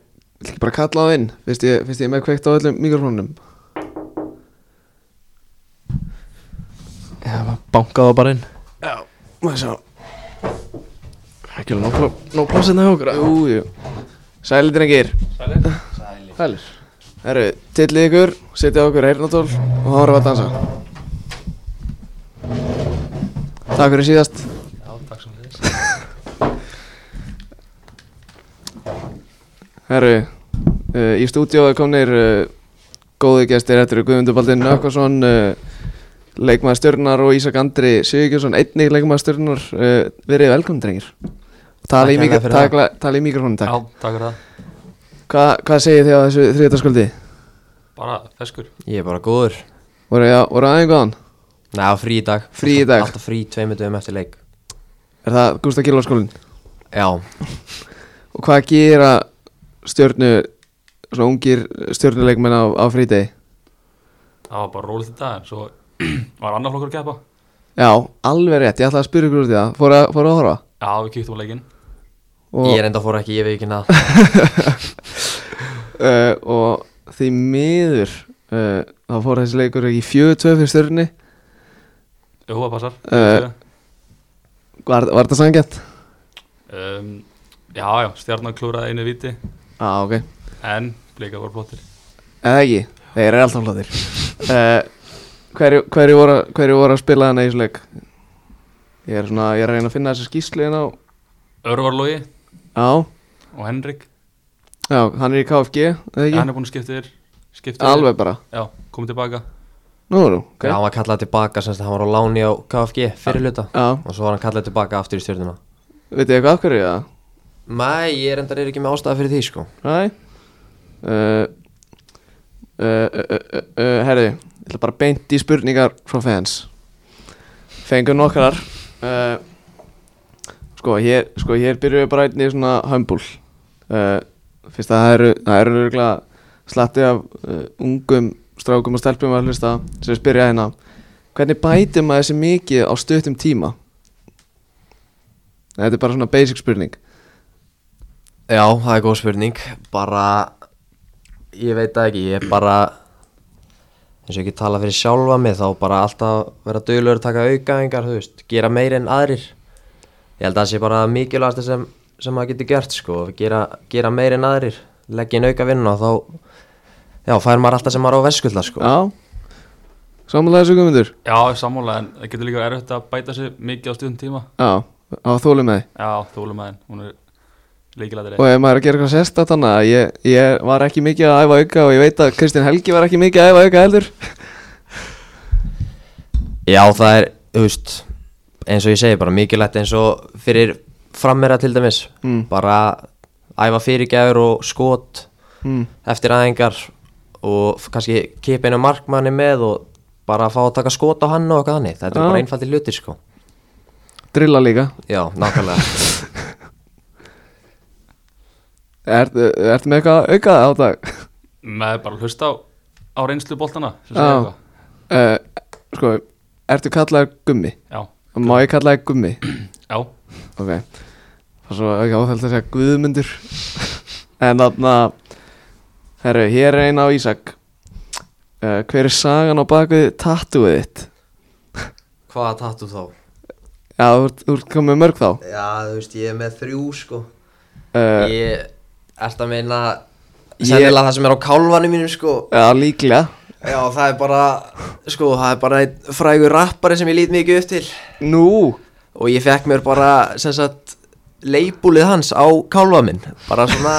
S1: Vil ekki bara kalla á inn Fyrst ég, fyrst ég er með kveikt á öllum mikrofónunum
S2: Já, maður bankaði það bara inn.
S1: Má sjá
S2: Ekki alveg nóg, nóg plásið það hjá okkur.
S1: Jú, jú Sælir drengir Sælir Sælir Herru, tillið ykkur, setja okkur heyrnatól og horfa að dansa Takk fyrir síðast Herru, uh, eh, í stúdíói komnir uh, góði gestir, þetta eru Guðmundur Baldin Nökkvason uh, leikmaður stjörnar og Ísak Andri Sigurkjörsson, einnig leikmaður stjörnar uh, verið velkomn drengir tala í, mikro,
S3: Takk hérlega fyrir
S1: tala, tala í mikrofónu
S3: Já,
S1: takk
S4: takk fyrir það
S1: Hva, hvað segir þið á þessu þriðdagsskvöldi?
S4: Bara feskur
S3: Ég er bara góður
S1: voru, já, voru aðeins góðan?
S3: Ná, frí í dag
S1: Frí í dag.
S3: Alltaf frí tveimur dögum eftir leik
S1: er það Gústa Kilvarskólin?
S3: Já,
S1: og hvað gera stjörnu svona ungir stjörnuleikmenn á, á frídegi?
S4: Það var bara rólið þetta en svo var annar flokkur að keppa
S1: já, alveg rétt, ég ætla að spyrja ykkur út í það fóru að, fóru að horfa?
S4: Já, við kýttum á leikinn
S1: Og,
S3: ég er enda fór ekki, ég veit ekki nað
S1: uh, og því miður uh, þá fór þessi leikur ekki 4-2 fyrir stjörnunni
S4: Jú, það passar
S1: Eh. var, var það sangjant?
S4: um, Já, já, stjarnan klúraði einu viti
S1: á, ah, ok
S4: En blika voru flottir
S1: Eða ekki, þeir eru alltaf flottir uh, hverju, hverju, voru, hverju voru að spila þannig í þessu leik? Ég er svona, ég er að reyna að finna þessi skýsli hérna á
S4: Örvarlogi
S1: Já,
S4: og Henrik
S1: já, hann er í KFG, eða
S4: Hann
S1: ekki?
S4: er búinn að skipta þér skipta þér.
S1: Alveg bara,
S4: Já, komið tilbaka
S1: nú erum, ok
S3: Já, hann var kallað tilbaka semst að hann var á láni á KFG fyrir hluta
S1: Já,
S3: Og svo var hann kallað tilbaka aftur í stjórnuna
S1: veit ég eitthvað af hverju það?
S3: Mæ, ég er enda reyður ekki með ástæða fyrir því sko
S1: Næ uh, uh, uh, uh, uh, Herri, ég ætla bara beint í spurningar frá fans Fengum nokkrar uh, Sko, hér, sko, hér byrjuðu bara einnig svona hömbul uh, Fyrst að það eru, það eru örgla slatti af uh, ungum strákum og stelpum að hlusta sem spyrja hérna Hvernig bætir maður þessi mikið á stuttum tíma? Þetta er bara svona basic spurning
S3: Já, það er góð spurning Bara, ég veit það ekki, ég er bara eins og ekki tala fyrir sjálfa mig þá bara alltaf vera dögulegur að taka aukaðingar, þú veist, gera meir en aðrir Ég held að það sé bara mikilvægast sem, sem maður getur gert sko, gera, gera meir en aðrir, leggja inn auka vinnu og þá, já, fær maður alltaf sem maður á veskulda sko
S1: Já Samanlega þessu guðmundur
S4: Já, sammála en það getur líka erfitt að bæta sig mikið á stundum tíma
S1: Já, á þólum með
S4: Já, þólumæðin, hún er líkilættir
S1: þið Og ef maður er að gera eitthvað sérstætt hann að ég, ég var ekki mikið að æfa auka og ég veit að Kristján Helgi var ekki mikið að æfa auka heldur
S3: Já, það er, þú veist, eins og ég segi bara mikilvægt eins og fyrir frammera til dæmis,
S1: Mm.
S3: bara æfa fyrirgæður og skot
S1: mm.
S3: eftir aðingar og f- kannski kipa einu markmanni með og bara fá að taka skot á hann og eitthvað þannig, þetta
S1: Já.
S3: er bara einfaldi hlutir sko.
S1: Drilla líka
S3: Já, nákvæmlega.
S1: Ertu ert með eitthvað auka á dag?
S4: Með bara að hlusta á, á reynslu boltana sem
S1: Já.
S4: segja eitthvað.
S1: Uh, sko, ertu kallaður gummi?
S4: Já,
S1: Má ég kalla þig gummi?
S4: já,
S1: Ok Það er svo ekki áþælt að segja guðmundur En þarna Herru, hér er einn á Ísak uh, Hver er sagan á bakvið tattúið þitt?
S3: Hvaða tattu þá?
S1: Já, þú ert, þú ert komið mörg þá
S3: Já, þú veist, ég er með þrjú sko.
S1: uh,
S3: Ég ert að meina
S1: Ég-
S3: sennilega það sem er á kálvanum mínum sko.
S1: Já, líklega
S3: Já, það er bara, sko, það er bara einn frægur rappari sem ég lít mikið upp til.
S1: Nú
S3: og ég fekk mér bara sem sagt leibúlið hans á kálva minn bara svona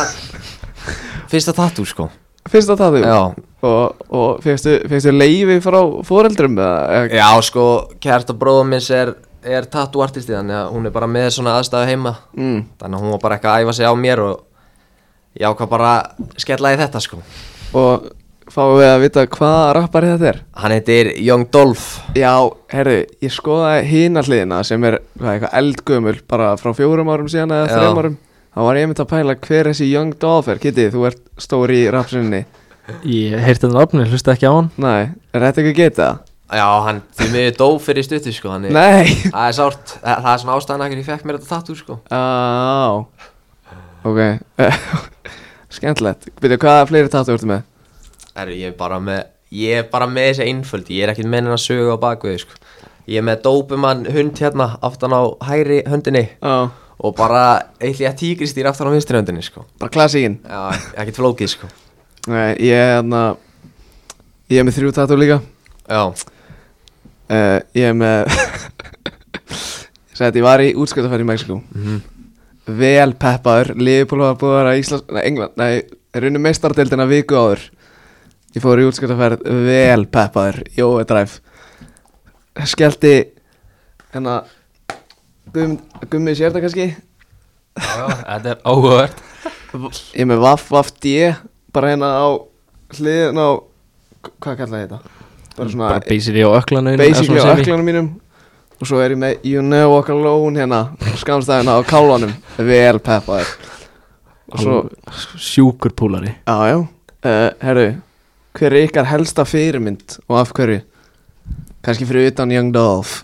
S3: fyrsta tattoo sko
S1: Fyrsta tattu
S3: já,
S1: Og, og fegstu, fegstu leifi frá foreldrum eða eða-
S3: já sko kært og bróðum minns er, er tattoo artisti þannig að hún er bara með svona aðstæðu heima
S1: mm.
S3: þannig að hún var bara eitthvað að æfa sig á mér og ég ákvað bara að skella í þetta sko
S1: Og fáum við að vita hvaða rappari þetta er
S3: hann heitir Young Dolph
S1: Já, herru, ég skoða hina hliðina sem er hvað, eitthvað eldgömul bara frá fjórum árum síðan eða
S3: Já.
S1: þrejum árum Þá var ég mynd að pæla hver þessi Young Dolph er Kitty, þú ert stóri í rapsinni
S2: Ég heyrti þetta nafni, hlusta ekki á hann
S1: Nei, er þetta ekki að geta?
S3: já, hann því miður dó fyrir stuttu sko hann er,
S1: Nei
S3: það er sárt, það það er svona ástæðan akkur ég fekk mér þetta tattoo sko
S1: Á Ok Skemmtilegt Byrju, hvaða fleiri tattu ertu með?
S3: Herru, ég er bara með Ég er bara með þessi einföld Ég er ekkert með hennar sögu á bakvið sko. Ég er með dópumann hund hérna Aftan á hægri höndinni
S1: Já
S3: Og bara eitthvað tígristýr aftan á vinstri höndinni sko.
S1: Bara klassíkin
S3: Já, ekkert flókið sko.
S1: Nei, ég er hérna Ég er með þrjú tattoo líka
S3: Já,
S1: uh, Ég er með Sætti, ég var í útskjöldafæri í Mexiko Vel peppaður Liverpool var búið að vera í Íslands Nei, England Nei, runni meistardeldina viku áður Ég fór í útskjöldafæri Vel peppaður Jói dræf skellti hérna gum, gummi sér þetta kannski
S4: já, já, þetta er áhugavert
S1: ég er með vaff vaff D bara hérna á hliðin á hvað kallaði ég þetta? bara svona
S2: bara basically á öklanauðinu
S1: basically á öklanum mínum og svo er ég með You Know Walk Alone hérna skamstæðina á kálvanum vel peppaður og svo
S2: sjúkur púlari
S1: Já, já, uh, herru Hver er ykkar helsta fyrirmynd og af hverju? Kannski fyrir utan Young Dolph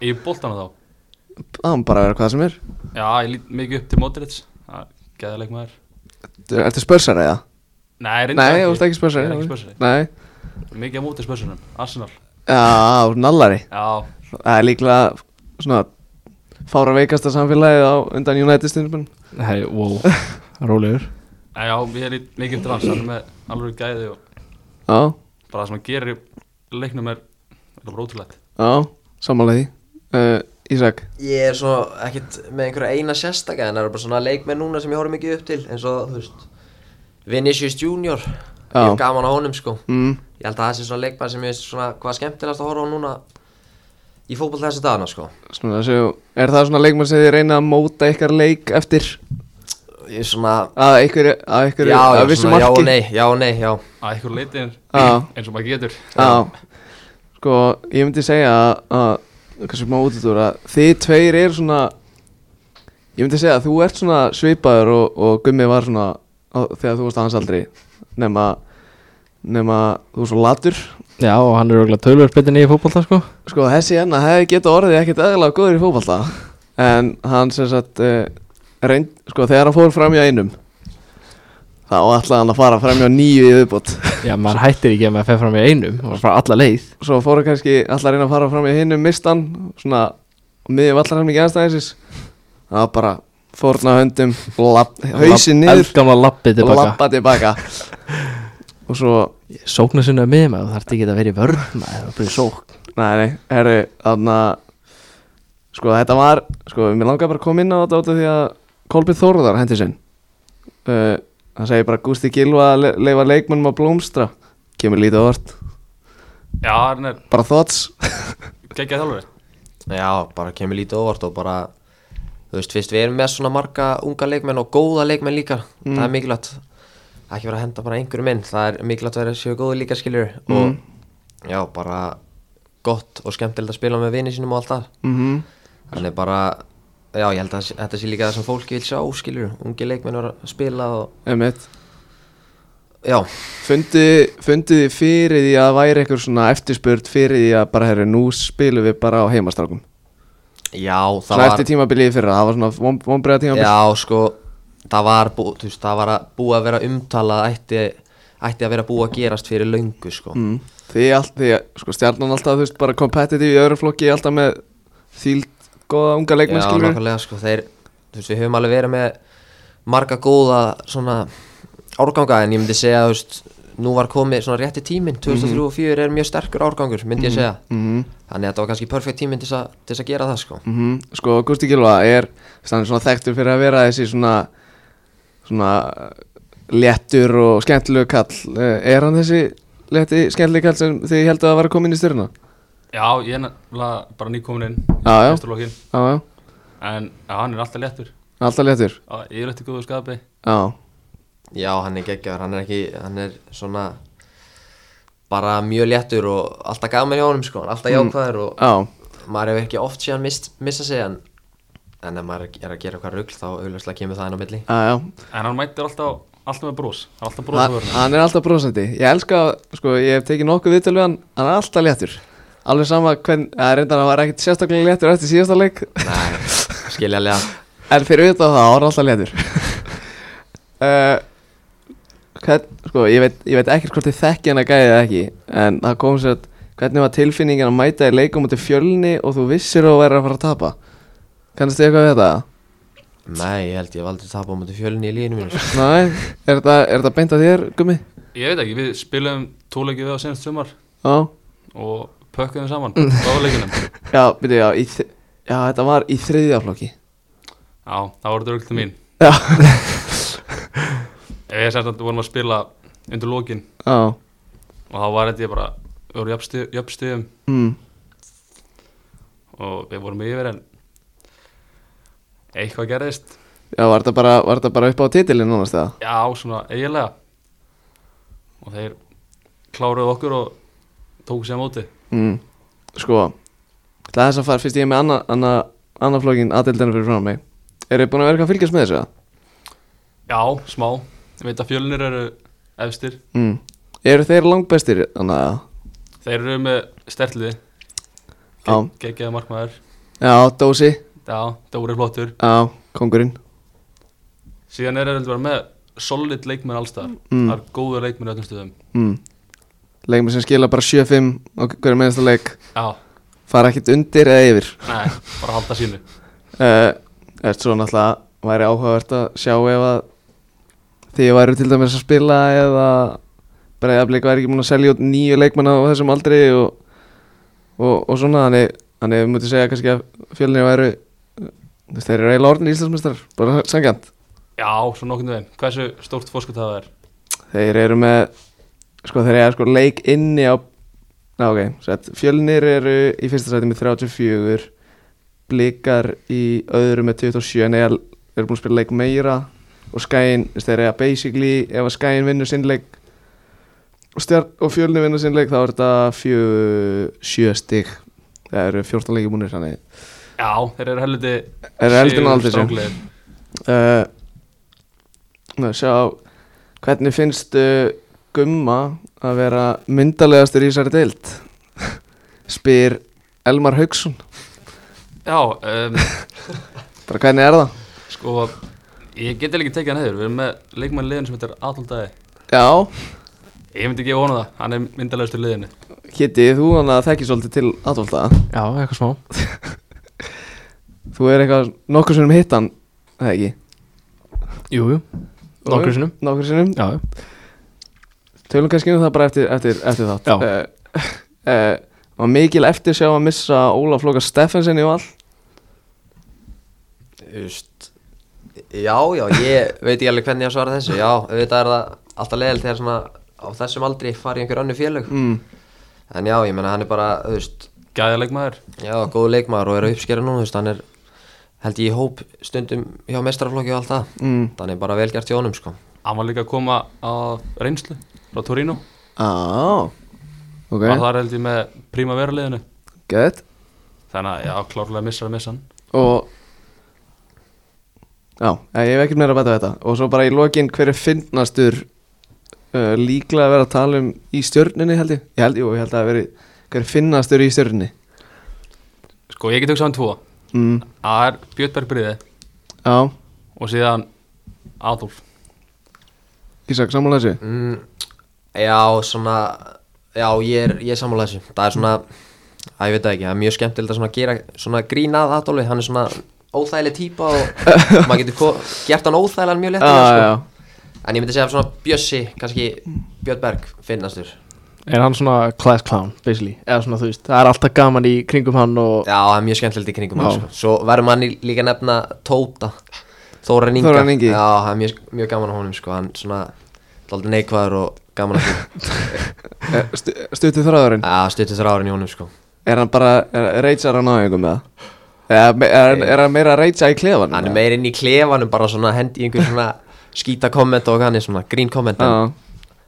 S4: Ég bólt hana þá
S1: Það má bara vera hvað sem er
S4: Já, ég lít mikið upp til Modric Það er Gæðaleg maður
S1: Er þetta spörsar eða?
S4: Nei, reyndar
S1: Nei, þú ert ekki spörsar
S4: Ég er ekki spörsari
S1: Nei,
S4: Mikið á móti spörsunum Arsenal
S1: já, þú ert nallari
S4: Já,
S1: Það er líklega svona fára veikasta samfélagið á undan United stundum
S2: hei, wow, rólegur
S4: en já, ég lít mikið upp til hans Hann er með alveg gæði og
S1: Já,
S4: bara það sem hann gerir í leiknum er Þetta er bara ótrúlegt
S1: já, samanlega því uh, Ísak
S3: Ég er svo ekkert með einhverja eina sérstaka en það eru bara svona leikmenn núna sem ég horf mikið upp til eins og, þú veist, Vinicius Junior Ég
S1: Já.
S3: hef gaman á honum, sko
S1: mm,
S3: Ég held að það sé svona leikmenn sem ég veist svona hvað skemmtilegast að horfa á núna í fótboll þessu dagana, sko
S1: svona, svo, Er það svona leikmann sem þið reyna að móta ykkar leik eftir
S3: Ég er svona,
S1: að einhverju, að
S3: já,
S1: einhverju,
S3: já,
S1: að vissu
S3: svona, já og
S1: marki?
S3: nei, já og nei, já
S4: Að einhver leiti er
S1: Já.
S4: eins og maður getur
S1: Já, sko, ég myndi segja að- að, kannski má útutúr að þið tveir eru svona, ég myndi segja að þú ert svona svipaður og, og Gummi var svona á, þegar þú varst á hans aldri, nema, nema þú er svo latur,
S2: já, og hann er örgulega tölvöld betur nýja fótbolta sko
S1: sko, þessi hérna hefði getað orðið ekkert aðeinslega góður í fótballta, en hann sem sagt, uh, reynd, sko, þegar hann fór framjá einum, þá ætlaði hann að fara framjá nýju í viðbót.
S2: já, maður hættir ekki að maður fer fram í einum og frá alla leið
S1: svo fóru kannski alltaf að reyna að fara fram í hinnum mistan svona miðjum allar hann mikið aðstæðisins það var bara fórna höndum lapp, hausin niður
S2: eldgamla lappið
S1: og
S2: tilbaka
S1: lappa tilbaka og svo
S2: sókna sinna með maður, þarf ekki að vera í vörn maður, það er bara í sók
S1: nei nei, herru, þarna sko þetta var, sko mér langar bara að koma inn á þetta út af því að Kolbjörn Þórðar hendi sinn uh, hann segir bara Gústi Gilva að le leifa leikmannum að blómstra kemur lítið orð,
S4: Já, hann er
S1: bara þots
S4: geggjað þjálfari
S3: Já, bara kemur lítið óvart og bara Þú veist, fyrst við erum með svona marga unga leikmenn og góða leikmenn líka
S1: Mm.
S3: Það er mikilvægt Ekki vera að henda bara einhverjum inn Það er mikilvægt að vera séu góði líka skiljur
S1: Mm.
S3: Og já, bara gott og skemmtilegt að spila með vini sínum og allt það
S1: mhm
S3: Þannig bara, já, ég held að sé- þetta sé líka það sem fólki vil sjá skiljur Ungi leikmenn eru að spila og
S1: Emmett,
S3: Já,
S1: Fundi, fundið þið fyrir því að væri eitthvað svona eftirspurt fyrir því að bara herri, nú spilum við bara á heimastrákum
S3: já, það
S1: Svona
S3: var
S1: eftir tímabilið fyrir það var svona vonbreiða tímabilið
S3: Já, sko, það var, bú, þú veist, það var að búið að vera umtalað ætti, ætti að vera búið að gerast fyrir löngu, sko
S1: mm. Því allt, því að, sko stjarnan alltaf, þú veist, bara competitive í öðru flokki alltaf með þýld góða unga leikmenn
S3: Já,
S1: skilur
S3: nákvæmlega sko, þeir, þú veist, við höfum alveg verið með marga góða svona árganga en ég myndi segja, þú veist, nú var komið svona rétti tíminn, 2003 og 2004 er mjög sterkur árgangur, myndi ég segja.
S1: Mhm.
S3: Þannig að þetta var kannski perfekt tíminn til þess að- til þess að gera það sko.
S1: mm Sko, Gusti Gilva er stannig svona þekktur fyrir að vera þessi svona svona eh, léttur og skemmtilegu kall Eh, Er hann þessi létti skemmtilegu kall sem þið heldur að vera komin í styrna?
S4: Já, ég er nefnilega bara nýkomin inn
S1: Já, já.
S4: fyrstu lokin.
S1: Já, já,
S4: En já, hann er alltaf léttur
S1: alltaf léttur
S4: Já, Ég er eftir góðu skapi
S1: Já,
S3: Já, hann er geggjaður, hann er ekki, hann er svona bara mjög léttur og alltaf gaman hjá honum sko, alltaf
S1: Mhm.
S3: jákvæður og
S1: já,
S3: maður hefur ekki oft séð hann mist, missa sig en, en ef maður er að gera eitthvað rugl þá auðvitað kemur það inn á milli.
S1: já, já.
S4: En hann mætir alltaf, alltaf með brós Hann er alltaf brós
S1: Hann,
S4: að vera
S1: hann er alltaf brosandi Ég elska, að- sko, ég hef tekið nokkuð viðtöl við hann Hann er alltaf léttur Alveg sama hvern, að reyndan hann var ekkert sérstaklega léttur eftir síðasta leik
S3: Nei, skiljaðlega.
S1: En fyrir auðvitað það, hann er alltaf léttur uh, hvern, Sko, ég veit, ég veit ekkert hvort þið þekki hann að gæði það ekki En það kom sér að hvernig var tilfinningin að mæta í leikum út í fjölni og þú vissir að þú væri að fara að tapa Kannast þið eitthvað við þetta?
S3: Nei, ég held ég hef aldrei tapað á mútið fjölunni í líðinu mínu sko.
S1: Nei, er þetta, er þetta beint að þér, Gummi?
S4: Ég veit ekki, við spilum tóleiki við á senast sumar
S1: Já
S4: Og pökkum þeim saman Báðuleikinum Já,
S1: Já, byrju, já, í þri- já, þetta var í þriðja flokki
S4: það voru dörgl til mín
S1: Já,
S4: Ef ég sem sagt vorum að spila undir lokin
S1: já,
S4: Og þá var þetta ég bara við vorum jafnstu- jafnstöðum
S1: mm.
S4: og við vorum yfir en eitthvað gerðist
S1: Já, var þetta bara, var þetta bara upp á titilinn núna stæða?
S4: já, svona eiginlega og þeir kláruðu okkur og tóku sér á móti
S1: Mm. Sko, það þess að fara fyrst ég er með anna, anna, anna flókin aðeildina fyrir frá mig Eru þið búin að vera eitthvað að fylgjast með þessu? eða?
S4: já, smá, ég veit að fjölnir eru efstir,
S1: Mm. Eru þeir langbestir? Þannig að
S4: þeir eru með stertliði
S1: Já.
S4: geggjaða markmaður
S1: Já, Dósi,
S4: já, Dóri er flottur
S1: já, kongurinn
S4: síðan er þeir bara með solid leikmenn allstar,
S1: Mm.
S4: það er góður leikmenn í öllum stöðum
S1: mm. Leikmenn sem skila bara 7-5 á hverju meðasta leik
S4: já,
S1: fara ekkert undir eða yfir
S4: nei, bara halda sínu
S1: uh, Eftir svo náttúrulega væri áhugavert að sjá ef að þið væru til dæmis að spila eða breyðablík væri ekki múin að selja út nýju leikmenn á þessum aldri og, og, og svona þannig, þannig við mútið segja kannski að fjölinni væru þú veist, þeir eru eiginlega orðin í Íslandsmyndstrar bara sangjant
S4: já, svona okkur veginn, hversu stórt fórskut það er
S1: Þeir eru með sko þeir eru sko leik inni á Ná ok, sett, fjölnir eru í fyrsta sæti með 34 Blikar í öðru með 27 en eða eru búin að spila leik meira og skæin, þú veist, þeir eru að basically ef að skæin vinnur sinn leik og, stjarn, og fjölnir vinnur sinn leik þá er þetta fjö, sjö stig það eru 14 leiki búinir þannig
S4: já, þeir eru helviti
S1: Þeir eru heldur en aldrei sér
S4: stráklegir.
S1: uh, ná, sjá, hvernig finnst uh, Gumma að vera myndarlegastur í þessari deild spyr Elmar Haugsson
S4: já, um,
S1: bara hvernig er það?
S4: Sko, ég get eiginlega ekki tekið hann hefur, við erum með leikmann í liðinu sem heitir Adolf Dæði.
S1: Já,
S4: Ég myndi ekki vona það, hann er myndalegastur í liðinu.
S1: Kitty, þú hann að þekki svolítið til aðvölda
S2: Já, eitthvað smá
S1: þú er eitthvað nokkur sinnum hitt hann eða ekki?
S2: Jú, jú, nokkur sinnum
S1: Nokkur sinnum,
S2: Já,
S1: tölum kannski um það bara eftir, eftir, eftir þátt
S2: Já.
S1: uh, uh, Var mikil eftir sjá að missa Ólaf Flóka Steffensen í val
S3: Just, já, já, ég veit ekki alveg hvernig ég á að svara þessu Já, auðvitað er það alltaf leðil þegar svona á þessum aldri fari einhver önnu félög
S1: mm.
S3: En já, ég menna hann er bara, þú veist,
S4: Gæða leikmaður.
S3: já, góð leikmaður og er að uppskera nú, þú veist, hann er held ég í hóp stundum hjá mestrarflokki og allt það
S1: Mm.
S3: Þannig bara vel gert hjá honum, sko
S4: Hann var líka að koma á reynslu frá Torino.
S1: ah. Ok,
S4: Var þar held ég með Primavera liðinu.
S1: gett
S4: Þannig að, já, klárlega missar að missa hann.
S1: og já, eh, ég hef ekkert meira að bæta við þetta og svo bara í lokin hver er fyndnastur uh, líklega að vera að tala um í stjörninni held ég, ég held, jú, ég held að veri hver er fyndnastur í stjörninni
S4: Sko, ég get hugsað um tvo.
S1: mm,
S4: Það er Björn Berg Bríði
S1: já,
S4: og síðan Adolf.
S1: Ísak, sammála þessu
S3: mm, Já, svona, já, ég er, ég er sammála þessu Það er svona, að ég veit það ekki, það er mjög skemmtilegt að svona gera svona grínað Adolfi Hann er svona óþægileg típa og maður getur ko- gert hann óþægilegan mjög
S1: já,
S3: léttilega, sko
S1: Ah, já,
S3: En ég myndi segja svona Bjössi, kannski Björn Berg, finnastur
S2: er hann svona class clown, basically Eða svona, þú veist, það er alltaf gaman í kringum hann og
S3: Já, það er mjög skemmtilegt í kringum hann
S2: Já.
S3: sko. Svo verður manni líka að nefna Tóta Þóran Inga
S1: Þórarinn Ingi.
S3: Já, það er mjög, mjög gaman á honum sko. Hann svona, alltaf neikvæður og gaman að því
S1: Eh, stu, stuttið þráðurinn
S3: Já, stuttir þrjá árin í honum sko.
S1: er hann bara, er- reitsar hann á einhverjum með það er, er hann meira að reitsa í klefanum
S3: Hann er meir inn í klefanum bara svona hendi í einhver svona skýta komment og hann er svona grín komment en
S1: já,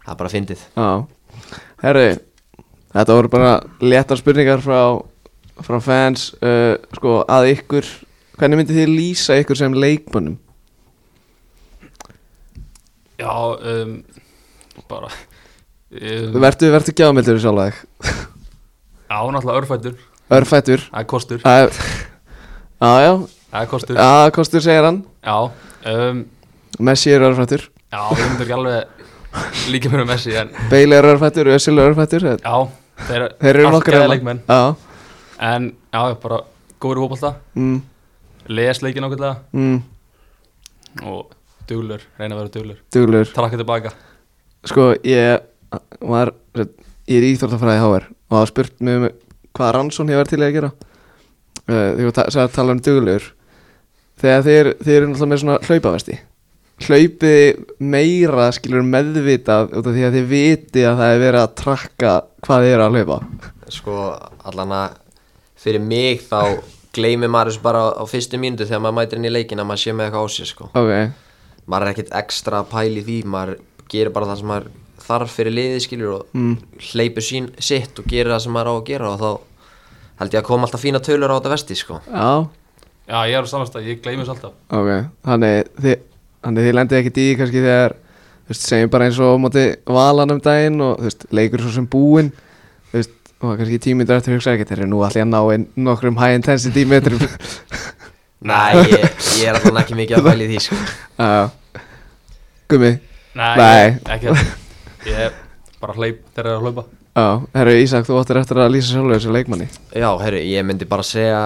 S3: Það er bara fyndið
S1: Já, herri Þetta voru bara léttar spurningar frá, frá fans uh, sko, að ykkur Hvernig myndið þið lýsa ykkur sem leikmönnum?
S4: Já, um, bara... Um,
S1: Vertu, vertu gjámildur sjálf að þig
S4: já, náttúrulega örfættur.
S1: Örfættur
S4: Það er kostur.
S1: Já, já,
S4: Það er kostur.
S1: já, kostur segir hann
S4: Já. Um,
S1: Messi er örfættur
S4: Já, ég myndi ekki alveg líka mér um Messi en
S1: Bale er örfættur, Özil er örfættur Þeir,
S4: já, þeir,
S1: þeir eru
S4: allt
S1: nokkar
S4: geðveikir
S1: hérna.
S4: leikmenn
S1: Já,
S4: en já, ég bara góður í fótbolta,
S1: mm,
S4: les leikinn ákveðlega
S1: mm,
S4: og duglur, reyna að vera duglur
S1: duglur
S4: trakka tilbaka,
S1: Sko, ég var, ég er í Íþórtafræði HR og það var spurt mig um hvað Ransson hefur verið til í að gera Eh, uh, þegar það tala um duglegur þegar þeir, þeir eru náttúrulega með svona hlaupavesti hlaupið meira skilur meðvitað út af því að þið viti að það er verið að trakka hvað þið eru að hlaupa
S3: sko allan að fyrir mig þá gleymir maður þessu bara á fyrstu mínútu þegar maður mætir inn í leikin að maður sé með eitthvað á sér sko
S1: ok,
S3: maður er ekkert ekstra að pæli því maður gerir bara það sem maður þarf fyrir liðið skilur og hleypur sín sitt og gerir það sem maður á að gera og þá held ég að koma alltaf fína tölur á þetta vesti sko
S1: já,
S4: Já, ég er á samanstað, ég gleymis alltaf
S1: ok þannig þið, þannig þið lendið ekki í kannski þegar þú veist, segjum bara eins og á móti valan um daginn og þú veist, leikur svo sem búinn þú veist, og kannski tímyndur eftir hugsa ekki þeir eru nú allir að ná inn nokkrum high intensity metrum
S3: Nei, ég, ég er alltaf ekki mikið að pæli því sko
S1: já, gummi
S4: Nei,
S1: Nei.
S4: Ég, ekki þetta Ég bara hleyp þegar það er að hlaupa
S1: Já, herru Ísak, þú áttir eftir að lýsa sjálfur þessu leikmanni
S3: Já, herru, ég myndi bara segja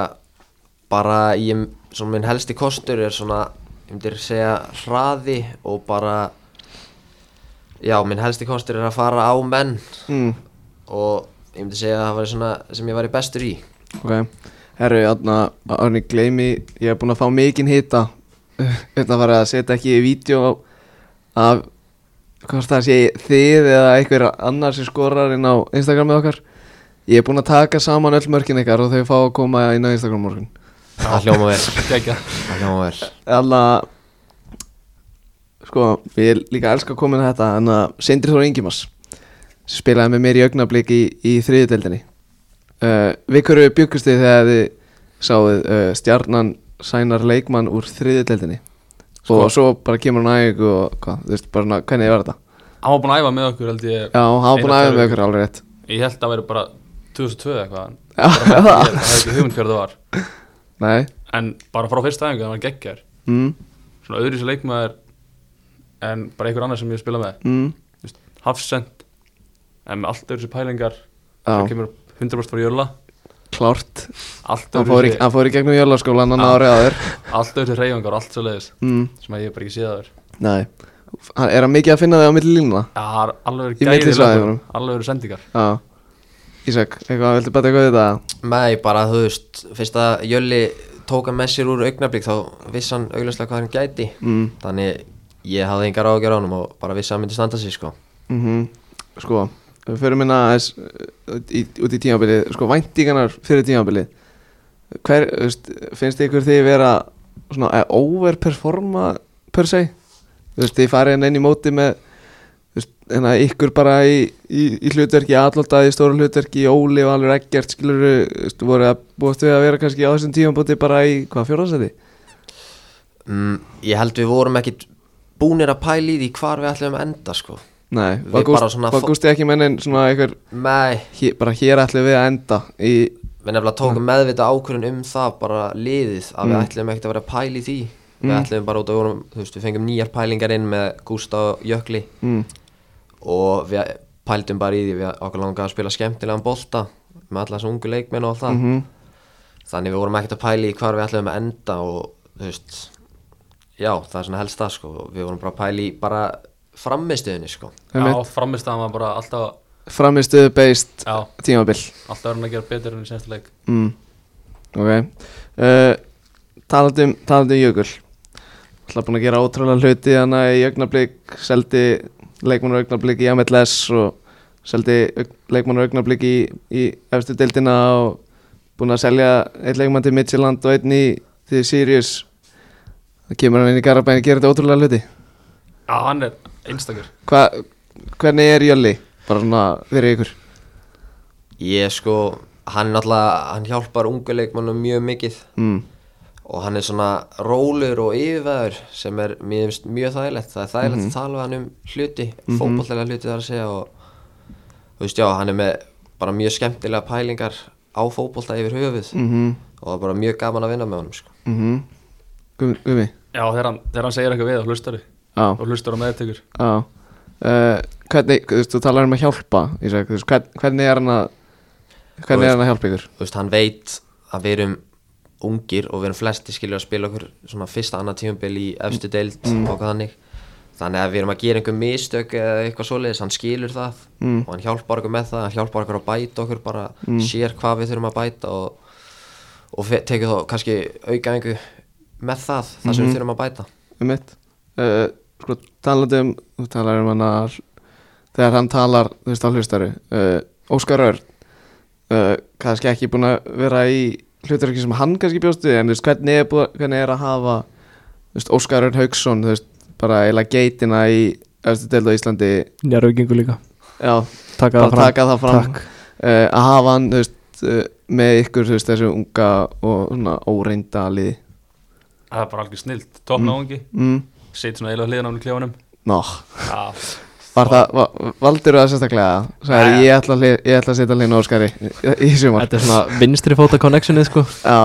S3: bara ég, svona minn helsti kostur er svona ég myndi segja hraði og bara já, minn helsti kostur er að fara á menn
S1: mm.
S3: og ég myndi segja að það var svona sem ég var í bestur í
S1: Ok, herru, þarna, Arni, gleymi, ég er búinn að fá mikinn hita Þetta var að setja ekki í vídeo af, hvað það sé, þið eða einhver annar sem skorar inn á Instagramið okkar Ég er búinn að taka saman öll mörkin ykkar og þau fá að koma inn á Instagram morgun
S3: það hljóma vel,
S4: Gekja
S3: það hljóma vel
S1: Alla, sko, ég líka elska að koma inn á þetta En að Sindri Þóra Ingimas Spilaði með mér í augnablík í, í þriðudeldinni uh, Við hverju byggust þið þegar þið sáuð uh, stjarnan sænar leikmann úr þriðudeldinni Og svo bara kemur hann aðeins og hvað, þú veist, bara svona, hvernig var þetta?
S4: Hann var búin að æfa með okkur held ég
S1: Já, hann var búin aðeins
S4: Einar Þór
S1: með ykkur alveg rétt
S4: Ég held að vera bara 2002 eða eitthvað en
S1: Já.
S4: bara með ekki- Ég hafði ekki hugmynd hver það var
S1: Nei,
S4: En bara frá fyrsta æfingu það var geggjar
S1: mm,
S4: Svona öðru sér leikmaður En bara einhver annar sem ég spila með
S1: mm,
S4: Þú veist, Hafsend En með allt öðru sér pælingar Svo
S1: já,
S4: kemur 100% frá Jölla
S1: klárt
S4: Allt
S1: Hann fór,
S4: öðru
S1: í, hann fór í gegnum jólaskólan hann
S4: Já.
S1: árið áður
S4: Allt öðru sér reyfingar, allt svo leiðis
S1: mm,
S4: Sem að ég hef bara ekki séð aður
S1: Nei, hann, er hann mikið að finna þig á milli línuna?
S4: Já, það er alveg
S1: Í
S4: verið gæðir
S1: millisvæðunum.
S4: Alveg verið sendingar
S1: Já Ísak, eitthvað, viltu bæta eitthvað við þetta?
S3: Nei, bara þú veist, fyrst að Jölli tók hann með sér úr augnablík þá vissi hann augljóslega hvað hann gæti
S1: Mm.
S3: þannig ég hafði engar ágjör á hann og bara vissi að hann myndi standa sér sko
S1: Mm Sko, við förum minna aðeins uh, í, út í tímabilið Sko, væntingarnar fyrir tímabilið Hver, þú veist, finnst ykkur þið vera svona að overperforma per se? Þú veist, þið farið hérna inn í móti með þú veist, hérna ykkur bara í, í, í hlutverki, alltaf í stóru hlutverki Óli og alveg ekkert skiluru þú veist, voru að búast við að vera kannski á þessum tímabóti bara í, hvað, fjórðarsæti?
S3: mm, Ég held við vorum ekkit búnir að pæli því hvar við ætlum að enda sko
S1: Nei,
S3: Við
S1: var
S3: bara
S1: Gústi-
S3: svona
S1: var
S3: fó-
S1: Gústi ekki mennin svona einhver
S3: Nei,
S1: hér, bara hér ætlum við að enda í,
S3: við nefnilega tókum meðvita ákvörðun um það bara liðið að við
S1: Mm.
S3: ætlum ekkit að vera að pæli því við ætlum bara út að vorum, þú veist, við fengum nýjar pælingar inn með Gústa og Jökli
S1: mm,
S3: og við pældum bara í því við okkur langaði að spila skemmtilegan bolta með alla þessu ungu leikmenn og allt það þannig við vorum ekkert að pæla í hvar við ætlum að enda og þú veist já, það er svona helst það sko við vorum bara að pæla í bara frammistuðinni sko
S4: Já, framistæðan var bara alltaf
S1: framistuðu based
S4: Já,
S1: tímabil
S4: alltaf er hann að gera betur enn í senstu leik
S1: mm, ok uh, talandi um, talandi um Jökul ætla búin að gera ótrúlega hluti hana í augnablík seldi leikmannu augnablík í MLS og seldi leikmannu augnablík í, í efstu deildina og búin að selja einn leikmann til Midtjylland og einn í til Sirius það kemur hann inn í Garabæn og gerir þetta ótrúlega hluti
S4: Já, hann er einstakur
S1: Hva, hvernig er Jölli? Bara svona fyrir ykkur
S3: ég sko, hann er náttúrulega hann hjálpar ungu leikmennum mjög mikið
S1: mm.
S3: og hann er svona rólur og yfirveður sem er mjög, mjög þægilegt það er þægilegt að tala við hann um hluti mm hluti þar að segja og þú veist já, hann er með bara mjög skemmtilega pælingar á fótbolta yfir höfuð
S1: Mm
S3: og það er bara mjög gaman að vinna með honum sko.
S1: Mhm. Gumi, gumi.
S4: Já, þegar hann, þegar hann segir eitthvað við þá hlustari
S1: Á,
S4: og hlustar á meðtekur
S1: á. Uh, hvernig, þú veist, þú talar um að hjálpa Ísak, þú veist, hvern, hvernig er hann að hvernig er hann að hjálpa ykkur
S3: þú veist, hann veit að við erum ungir og við erum flesti skilur að spila okkur svona fyrsta annað tímabil í efstu deild og hvað þannig þannig að við erum að gera einhver mistök eða eitthvað svoleiðis, hann skilur það
S1: Mm.
S3: og hann hjálpar okkur með það, hann hjálpar okkur að bæta okkur bara sér hvað við þurfum að bæta og, og fe- tekur þá kannski auka einhver með það, það sem við þurfum að bæta
S1: um mitt uh, sko talandi um þú talar um hann að þegar hann talar, þú veist, á hlustari uh, Óskar Örn uh, kannski ekki búin að vera í hlutarki sem hann kannski bjóstu en þú veist, hvernig er, búið, hvernig er að hafa þú veist, Óskar Örn Hauksson þú veist, bara eila geitina í östu deild á Íslandi
S2: Já, raukingu líka
S1: já, bara
S2: Taka það fram
S1: taka það fram
S2: Takk
S1: uh, að hafa hann þú veist, uh, með ykkur þú veist, þessu unga og svona óreinda liði
S4: það er bara algjör snilt, toppnáðungi mm.
S1: mm.
S4: seti svona eiginlega hliðan á hann í klefanum
S1: Ná,
S4: Já,
S1: var það, va- valdirðu það sérstaklega? Særi,
S4: Jæja.
S1: ég ætla, að hlið- ég ætla að setja hlýna Óskari í, í sumar
S2: Þetta er svona vinstri fóta connectionið sko
S1: Já,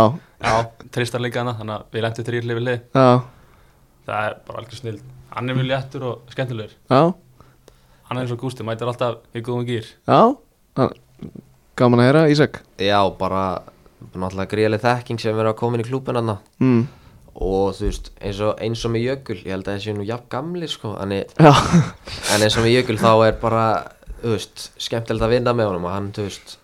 S4: já, tristar líka hana þannig að við lentum þrýr hlið við hlið
S1: já,
S4: það er bara algjör snilt, hann er mjög léttur og skemmtilegur
S1: já,
S4: hann er eins og Gústi, mætir alltaf í góðum gýr
S1: já Hann- Gaman að heyra, Ísak
S3: Já, bara náttúrulega gríðarlega þekking sem er að koma inn í klúbin hann
S1: mm.
S3: og þú veist, eins og, eins og með Jökul ég held að það séu nú jafn gamli sko en,
S1: Já,
S3: en eins og með Jökul þá er bara þú veist, skemmtilegt að vinna með honum og hann, þú veist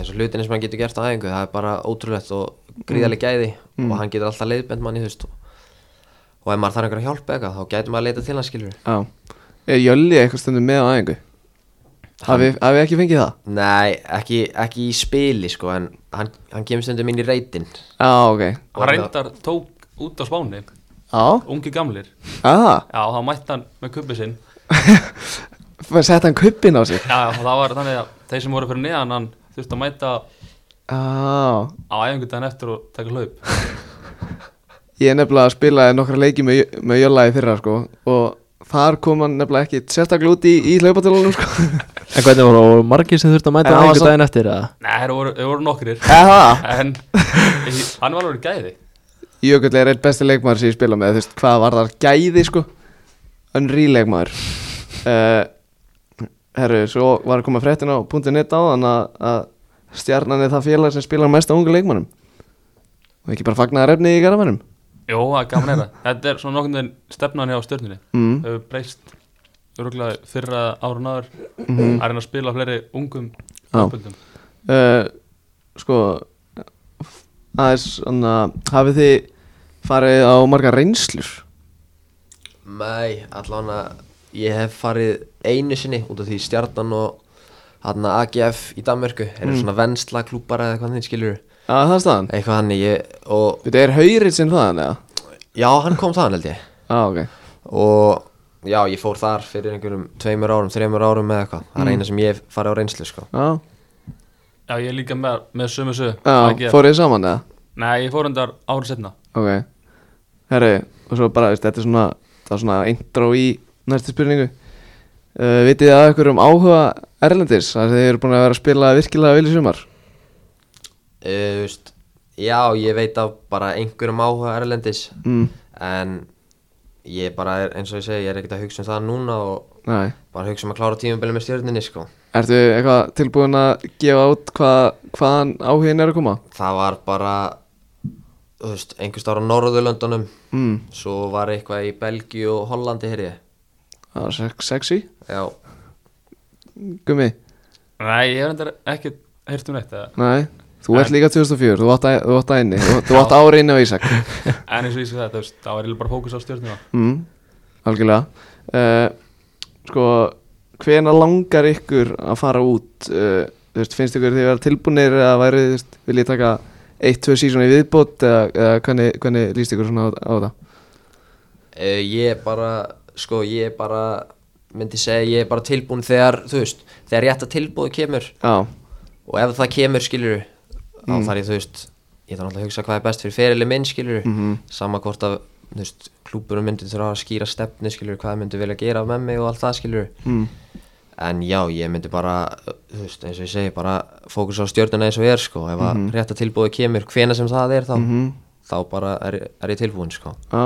S3: eins og hlutinni sem hann getur gert á æfingu það er bara ótrúlegt og gríðarlega gæði og hann getur alltaf leiðbend manni, þú veist og, og ef maður þarf einhverja hjálp eða eitthvað, þá gæti maður að leita til hans skilur
S1: já Er Jölli eitthvað stundum með á æfingu? Hafi, hafi ekki fengið það?
S3: Nei, ekki, ekki í spili sko en hann, hann kemur stundum inn í reytin
S1: Já, ok
S4: hann reyndar tók út á spáni
S1: Já,
S4: ungi gamlir,
S1: aha,
S4: já, þá mætti hann með kubbi sinn
S1: sett hann kuppin á sig
S4: já, og það var þannig að þeir sem voru fyrir neðan hann þurfti að mæta
S1: Já,
S4: á æfingu daginn eftir og taka hlaup
S1: Ég nefnilega spilaði nokkra leiki með, með Jölla í fyrra sko og þar kom hann nefnilega ekki sérstaklega út í, í hlaupatölanum sko
S2: En hvernig voru voru margir sem þurftu
S1: En
S2: að mæta á
S1: hann var
S2: einhver
S1: samt-
S2: daginn eftir eða?
S4: Nei, þeir voru, þeir voru nokkrir
S1: Eða?
S4: En hann var alveg gæði
S1: Jökull er einn besti leikmaður sem ég spila með þú veist hvað var þar gæði sko Unri leikmaður uh, Herru, svo var að koma fréttin á .net á þann að, að stjarnan er það félag sem spilar mest á ungu leikmannum og ekki bara fagnaðar efni í garamannum
S4: Jó, það er gaman að heyra Þetta er svona nokkurn veginn stefnan hjá stjörnunni
S1: mm.
S4: Hefur breyst örgulega fyrra árun áður að reyna að spila á fleiri ungum
S1: Já.
S4: uppöldum
S1: uh, sko aðeins svona hafið þið farið á margar reynslur
S3: Nei, allan að ég hef farið einu sinni út af því stjarnan og hann AGF í Danmörku eru svona vennsla klúpar eða hvað þinn skilur
S1: að það er staðan
S3: eitthvað hann ég og
S1: þetta er haurinn sinn þaðan eða
S3: já, hann kom þaðan held ég
S1: ah, ok
S3: og já, ég fór þar fyrir einhverjum tveimur árum, þreimur árum eða eitthvað það er eina sem ég hef farið á reynslu sko
S1: ah,
S4: Já, ég er líka með, með sömu sög
S1: ah, fórið þið saman eða
S4: Nei, ég fór undar árið setna
S1: ok herru og svo bara veist, þetta er svona það er svona intro í næstu spurningu uh, vitið þið að ykkur um áhuga Erlendis að þið eru búin að vera að spila virkilega vel í sumar
S3: Eh, Þú veist, já, ég veit af bara einhverjum áhuga Erlendis
S1: mm.
S3: en ég bara er, eins og ég segi, ég er ekkert að hugsa um það núna og
S1: nei
S3: bara hugsa um að klára tímabilið með stjörninni sko
S1: Ertu eitthvað tilbúin að gefa út hvað, hvaðan áhugin er að koma?
S3: það var bara þú veist, einhvers staðar á Norðurlöndunum
S1: Mm.
S3: svo var eitthvað í Belgíu og Hollandi hér ég
S1: Það var sex- sexy
S3: já,
S1: Gummi,
S4: Nei, ég hef undar ekki heyrt um neitt eða.
S1: nei Þú ert
S4: En-
S1: líka 2004, þú átt, að- þú átt að inni Þú, þú átt ári inni á Ísak
S4: En eins og ég sé þetta, þú veist, þá er ég bara fókus á stjörnuna
S1: mm, Algjörlega uh, Sko, hvena langar ykkur að fara út uh, þú veist, Finnst ykkur þið vera tilbúnir eða væri, þú veist, vil ég taka eitt, tvö sísoni viðbót eða, eða hvernig, hvernig líst ykkur svona á, á það?
S3: uh, ég bara sko, ég bara myndi segja, ég er bara tilbúin þegar þú veist, þegar rétt að tilbúið kemur
S1: Já,
S3: og ef það kemur skilur þá þarf ég, þú veist ég þarf náttúrulega að hugsa hvað er best fyrir ferili minn skilur sama hvort að, þú veist, klúburum myndi þurfa að skýra stefni skilur hvað þau myndi vilja gera með mig og allt það skilur
S1: mm,
S3: En já, ég myndi bara, þú veist, eins og ég segi, bara fókus á stjórnuna eins og ég er, sko. Ef að rétt að tilbúið kemur, hvena sem það er, þá,
S1: Mhm.
S3: þá bara er, er ég tilbúin, sko.
S1: já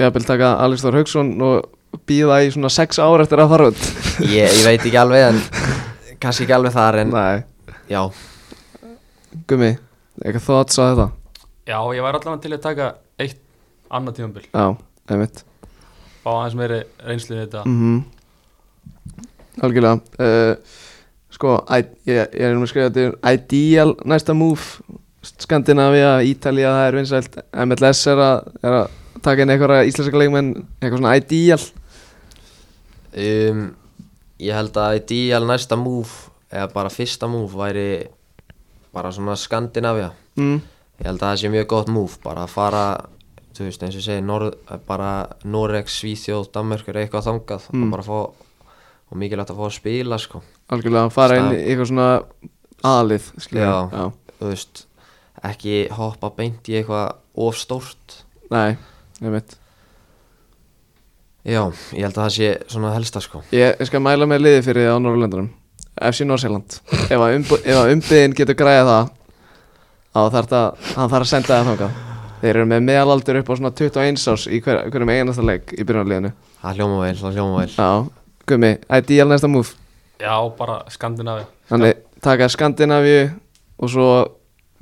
S1: Ég vil taka Alex Þór Hauksson og býða í svona sex ára eftir að fara út
S3: Ég, ég veit ekki alveg, en kannski ekki alveg þar, en
S1: Nei,
S3: já,
S1: Gummi, eitthvað þóts á þetta
S4: Já, ég var allavega til að taka eitt annað tímabil
S1: Já, einmitt
S4: Fá aðeins meiri reynslu í þetta
S1: mm Algjörlega uh, Sko, æ- ég, ég er nú að skrifa þetta er Ideal næsta move Skandinavia, Ítalía, það er vinsælt MLS er að, er að taka inn einhverja íslenska leikmenn eitthvað svona ideal
S3: um, Ég held að ideal næsta move eða bara fyrsta move væri bara svona Skandinavia
S1: mm.
S3: Ég held að það sé mjög gott move bara að fara þú veist eins og ég segi Norð, bara Noreg, Svíþjóð, Danmörkur eitthvað þangað og bara fá og mikilvægt að fá að spila sko
S1: algjörlega að fara inn í eitthvað svona aðlið skilur
S3: Já,
S1: við. Já.
S3: þú veist ekki hoppa beint í eitthvað of stórt
S1: Nei, ég veit
S3: Já, ég held að það sé svona helsta sko
S1: Ég skal mæla með liði fyrir þið á Norrlöndunum FC Norsjöland Ef að umbo- ef að umbyðin getur græða það þá þarf það, hann þarf að senda það þangað Þeir eru með meðalaldur upp á svona 21 árs í hver, hverjum einasta leik í byrjunarliðinu
S3: Það hljóma vel, það hljóma vel
S1: Já, gummi, ideal næsta move
S4: Já, bara Skandinavi
S1: Þannig taka Skandinavíu og svo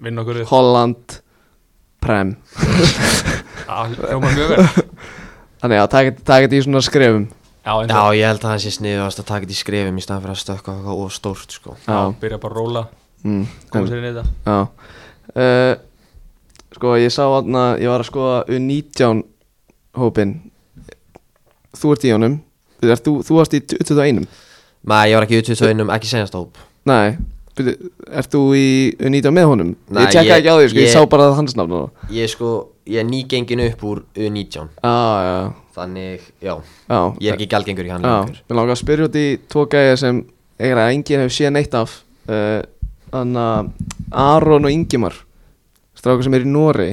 S4: Vinn okkur upp
S1: Holland Prem
S4: Já, hljóma mjög vel
S1: Þannig að taka, taka þetta í svona skrefum
S4: Já, eins
S3: Já,
S4: og
S3: ég held að það sé sniðuðast að taka þetta í skrefum í staðan fyrir að stökka eitthvað of stórt sko
S1: Já,
S4: Byrja bara að róla
S1: mm,
S4: Koma sér inn í þetta
S1: Já uh, Sko ég sá aðna Ég var að skoða U19 hópin Þú ert í honum Þú, ert- þú, þú varst í 21
S3: Nei, ég var ekki í 21 um ekki senast hóp
S1: Nei byrju, Ert þú í U19 með honum?
S3: Nei,
S1: ég tjekka
S3: ég-
S1: ekki á því sko, ég,
S3: ég-
S1: sá bara hans nafn og-
S3: Ég sko, ég er nýgengin upp úr
S1: Já,
S3: U19
S1: já,
S3: Þannig, já,
S1: já
S3: Ah, ég er ekki galgengur í hann
S1: Já,
S3: lengur
S1: mér langar að spyrja út í tvo gæja sem eiginlega enginn hefur séð neitt af uh, Þannig að Aron og Ingimar Strákur sem er í Nóri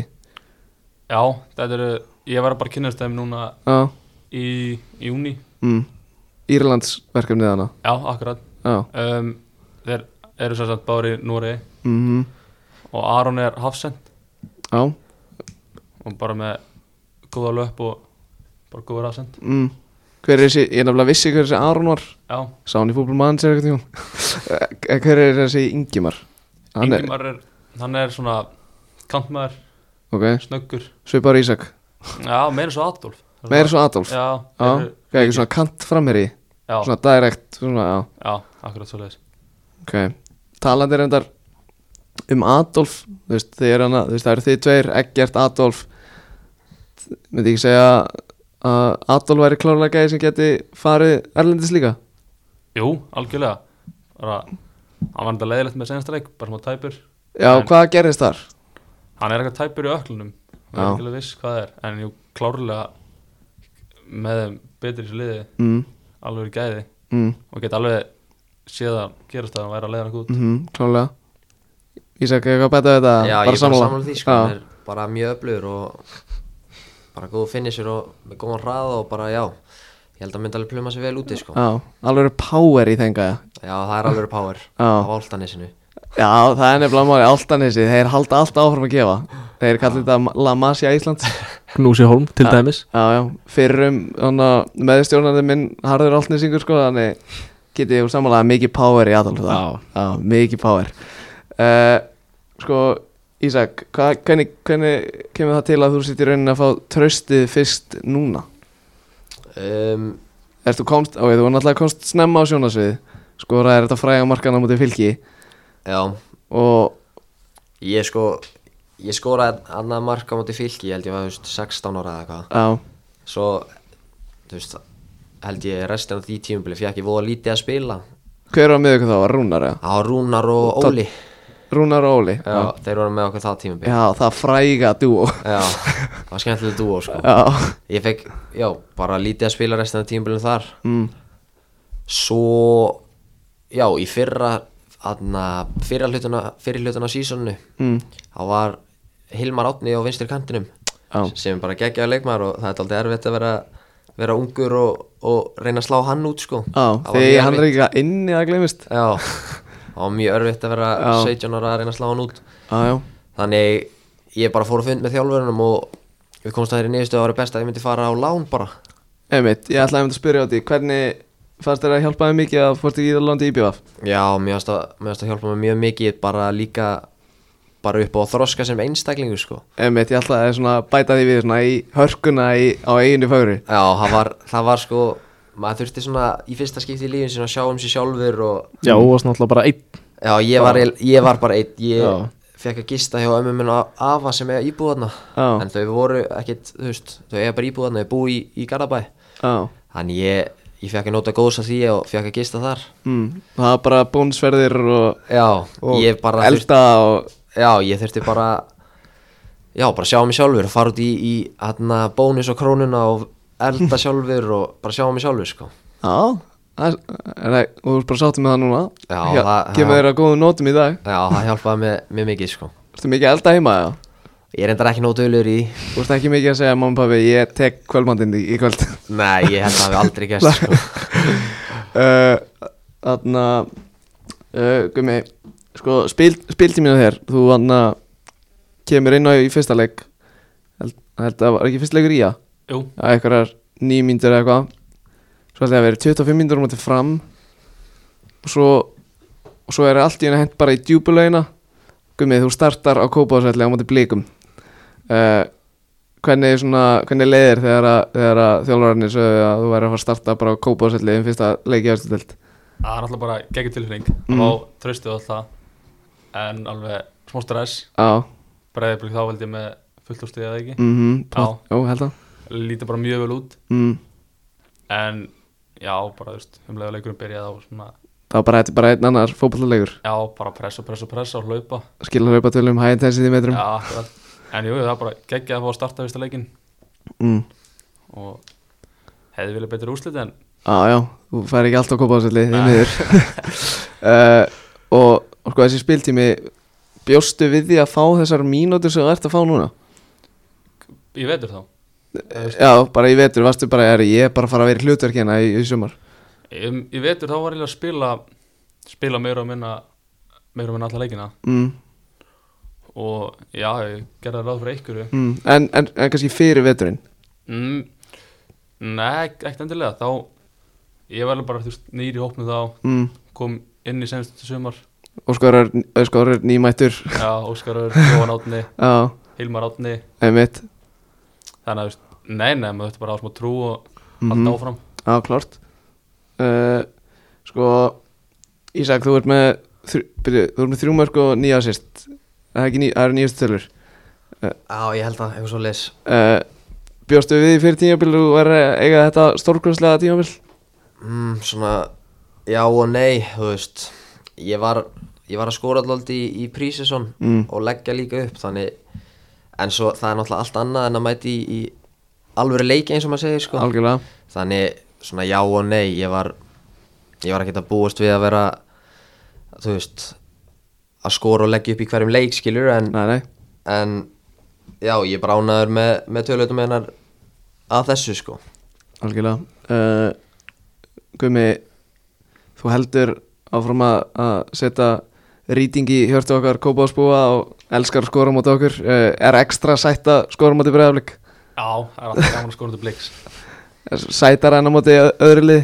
S4: Já, þetta eru Ég var að bara kynast þeim núna
S1: Já,
S4: í júni
S1: mm, Írlands verkefnið hana
S4: Já, akkurat
S1: Já,
S4: um, Þeir eru svo samt bári í Núri
S1: mhm
S4: Og Aron er hafsend
S1: Já,
S4: Og bara með góða löp og bara góða hafsend
S1: mm. hver er þessi, ég er nefnilega vissi hver þessi Aron var
S4: Já,
S1: Sá hann í fútbolmann sér eitthvað tíma Eh, Hver er þessi Ingimar? Hann er-
S4: Ingimar er Hann er svona kantmaður,
S1: Ok,
S4: snöggur
S1: svipar Ísak
S4: Já, meira svo Adolf
S1: Meir svo Adolf Já,
S4: Já,
S1: já.
S4: þeir
S1: Hvað, ekki svona kant framherji
S4: eru- já,
S1: Svona direkt, svona, já
S4: já, akkurat svo leiðis
S1: Ok, talandi reyndar um Adolf Þú veist, þið er hana, þú veist, það eru þið tveir Eggert Adolf Myndi ekki segja að Adolf væri klárlega gæði sem geti farið Erlendis líka
S4: Jú, algjörlega bara, Hann var enda leiðilegt með senasta leik bara smá tæpur
S1: Já,
S4: En-
S1: hvað gerðist þar?
S4: Hann er eitthvað tæpur í öklunum Ég er
S1: Já.
S4: ekki alveg viss hvað það er En jú, klárlega með þeim betri í þessu liði
S1: Mm,
S4: alveg í gæði
S1: mm.
S4: og get alveg séð að gerast það að hann væri að leiða hann út
S1: mm klálega Ísak, eitthvað að bæta við þetta?
S3: Já, ég er bara
S1: sammála?
S3: samanlega því sko
S1: Já.
S3: Hann er bara mjög öflugur og bara góð finnir og með góðan hraða og bara, já Ég held að hann myndi alveg pluma sér vel úti sko
S1: Já, alveg er power í þenga
S3: Já, það er alveg power
S1: Já.
S3: á áltanesinu
S1: Já, það er nefnilega máli áltanessi Þeir halda alltaf áfram að gefa Þeir kallir þetta La Masia Íslands
S2: Gnúsi Holm til dæmis
S1: Já, já, fyrrum meðstjórnandi minn Harður Altnesingur sko Þannig getið ég samanlega mikið power í aðal
S2: Já.
S1: já, mikið power uh, Sko, Ísak, hvað, hvernig, hvernig kemur það til að þú sitt í rauninni að fá traustið fyrst núna?
S3: um,
S1: Erst þú komst, ok, þú var náttúrulega komst snemma á sjónasvið skoraði þetta fræga markana mútið fylki
S3: Já,
S1: og
S3: Ég sko, ég skoraði annað mark á móti fylki, ég held ég var þú veist, 16 ára eða eitthvað.
S1: já,
S3: Svo, þú veist, held ég restin af því tímubili fekk ég voða lítið að spila.
S1: hver var með ykkur þá? Var Rúnar, já?
S3: Það var Rúnar og Óli,
S1: Rúnar og Óli
S3: já, þeir voru með okkur það tímubili.
S1: já það fræga dúo
S3: Já, það var skemmtilega dúo sko.
S1: Já,
S3: Ég fekk, já, bara lítið að spila restin af tímubilinu þar.
S1: mm,
S3: Svo, já, í fyrra, aðna, fyrra hlutuna, fyrir hlutuna á sísónu,
S1: mm,
S3: þá var Hilmar Átni á vinstri kantinum
S1: Já.
S3: sem er bara geggjaði leikmaður og það er aldrei erfitt að vera, vera ungur og, og reyna að slá hann út sko
S1: já,
S3: Það var
S1: því
S3: mjög
S1: hann er
S3: erfitt.
S1: ekki að inni að glemist
S3: Já, það var mjög erfitt að vera
S1: Já.
S3: 17 ára að reyna að slá hann út
S1: Já, já,
S3: þannig ég bara fór að fund með þjálfurunum og við komst að þeirri niðurstöðu að það var best að ég myndi fara á lán bara
S1: einmitt, ég ætlaði einmitt að spyrja á því hvernig fannst þér að hjálpa þér mikið að fórst ekki í Íðalandi íbjöf
S3: Já, mér varst að, mér varst að hjálpa mig mjög mikið bara líka bara upp á að þroska sem einstaklingu sko
S1: Einmitt, ég ætlaði að svona bæta því við svona í hörkuna í, á eiginu fögri
S3: Já, það var, það var sko maður þurfti svona í fyrsta skipti í lífin sinna að sjá um sig sjálfur og
S2: Já, og varst náttúrulega bara einn
S3: Já, ég var, eil- ég var bara einn ég, fekk að gista hjá ömmu minn og afa sem eiga íbúðarna
S1: Já.
S3: en þau voru ekkit, þú veist, þau eiga bara íbúðarna, þau búi í, í Garabæ
S1: Já,
S3: þannig ég, ég fekk að nota góðs af því og fekk að gista þar
S1: mm. það er bara bónsverðir og,
S3: já,
S1: og
S3: ég bara þurfti-
S1: elda og
S3: Já, ég þurfti bara Já, bara sjá mig sjálfur fara út í, í hérna, bónus og krónuna og elda sjálfur og bara sjá mig sjálfur sko.
S1: Já, það er, er, og þú ert bara sáttum með það núna
S3: Já,
S1: Hjá-
S3: það-
S1: Kemur
S3: já.
S1: þér að góðum nótum í dag
S3: Já, það hjálpaði mér, mér mikið sko.
S1: Ertu mikið að elda heima, já?
S3: Ég er endar ekki nóg dölur í
S1: Þú ert ekki mikið að segja mamma og pabbi, ég tek kvöldmandinn í, í kvöld
S3: Nei, ég held að það hafi aldrei gæst sko.
S1: Eh, Þannig að uh, Gumi, sko spil, spiltíminu þér Þú hann að kemur inn á í fyrsta leik held, held að var ekki fyrsta leikur í að
S4: Jú,
S1: að einhverjar nýjum mínútur eða eitthvað svo held ég að vera 25 mínútur á móti fram og svo og svo er allt í henni hent bara í djúbulauðina Gummið, þú startar á kópáðsvelli á móti blíkum uh, hvernig, svona, hvernig leiðir þegar, að, þegar að þjálfararnir sögðu að þú væri að fara að starta bara á kópáðsvelli um fyrsta leiki ástildelt
S4: það er alltaf bara geggjum tilfinning
S1: Mm.
S4: mm. og tröstuð alltaf en alveg smá stress
S1: Já,
S4: breiðablík þá held ég með fullt á stuðið eða ekki
S1: mhm,
S4: Já.
S1: já, held að
S4: lítið bara mjög vel út
S1: mm.
S4: en já, bara þú veist, umlega leikurinn byrjaði á svona,
S1: það var bara, þetta er bara einn annar fótballalegur
S4: já, bara pressa, pressa, pressa og hlaupa
S1: skilur hlaupa tölum high intensity metrum
S4: já, akkurat. en jú, það er bara geggjað að fá að starta fyrsta leikin
S1: mm.
S4: og hefði vilja betur úrslit en
S1: Já, já, þú fær ekki alltaf að kopa á svolítið, því miður uh, og, og sko þessi spiltími Bjóstu við því að fá þessar mínútur sem þú ert að fá núna?
S4: ég vetur þá Eh,
S1: Já, bara í vetur, varstu bara, er ég er bara að fara að vera í hlutverk hérna í, í sumar
S4: ég, ég Um, vetur þá var ég að spila spila meira og minna meira og minna alla leikina
S1: mm,
S4: og já, ég gerði ráð fyrir einhverju
S1: mm. En, en, en kannski fyrir veturinn
S4: mm, nei, ek- ekkert endilega þá, ég var alveg bara þú veist, nýr í hópnu þá,
S1: mm.
S4: kom inn í senstu sumar
S1: Óskar er, Óskar er nýmættur
S4: já, Óskarur, Jóhann Átni,
S1: Já,
S4: Hilmar Átni
S1: einmitt
S4: þannig að, þú veist, nei, nei, maður þetta bara á smá trú og
S1: Mhm.
S4: halda áfram
S1: Já, klart uh, Sko Ísak, þú ert með þrjú, byrju, Þú ert með þrjú mörg og nýja sýst Það er ekki ný, það eru nýjastu tölur
S3: Já, ég held að eitthvað svo leis
S1: uh, Bjóstu við því fyrir tímabil og verið að eiga þetta stórkurslega tímabil?
S3: mm, Svona, já og nei þú veist, ég var ég var að skora alltaf í, í prísesson
S1: Mm.
S3: og leggja líka upp þannig, en svo það er náttúrulega allt annað en að mæti í, í alvöru leiki eins og maður segir sko.
S1: Algjörlega
S3: þannig svona já og nei ég var, ég var ekkert að búast við að vera þú veist að skora og leggja upp í hverjum leik skilur en,
S1: Nei, nei
S3: en já ég er bara ánæður með, með tölvöldum hennar að þessu sko
S1: Algjörlega uh, Gumi Þú heldur áfram að, að setja rýting í hjörtu okkar kópásbúa og elskar að skora á móti okkur uh, Er ekstra sætt að skora á móti bregðaflik?
S4: já, það er alltaf gaman að skora til bliks
S1: Sætar enn á móti ö- öðru lið?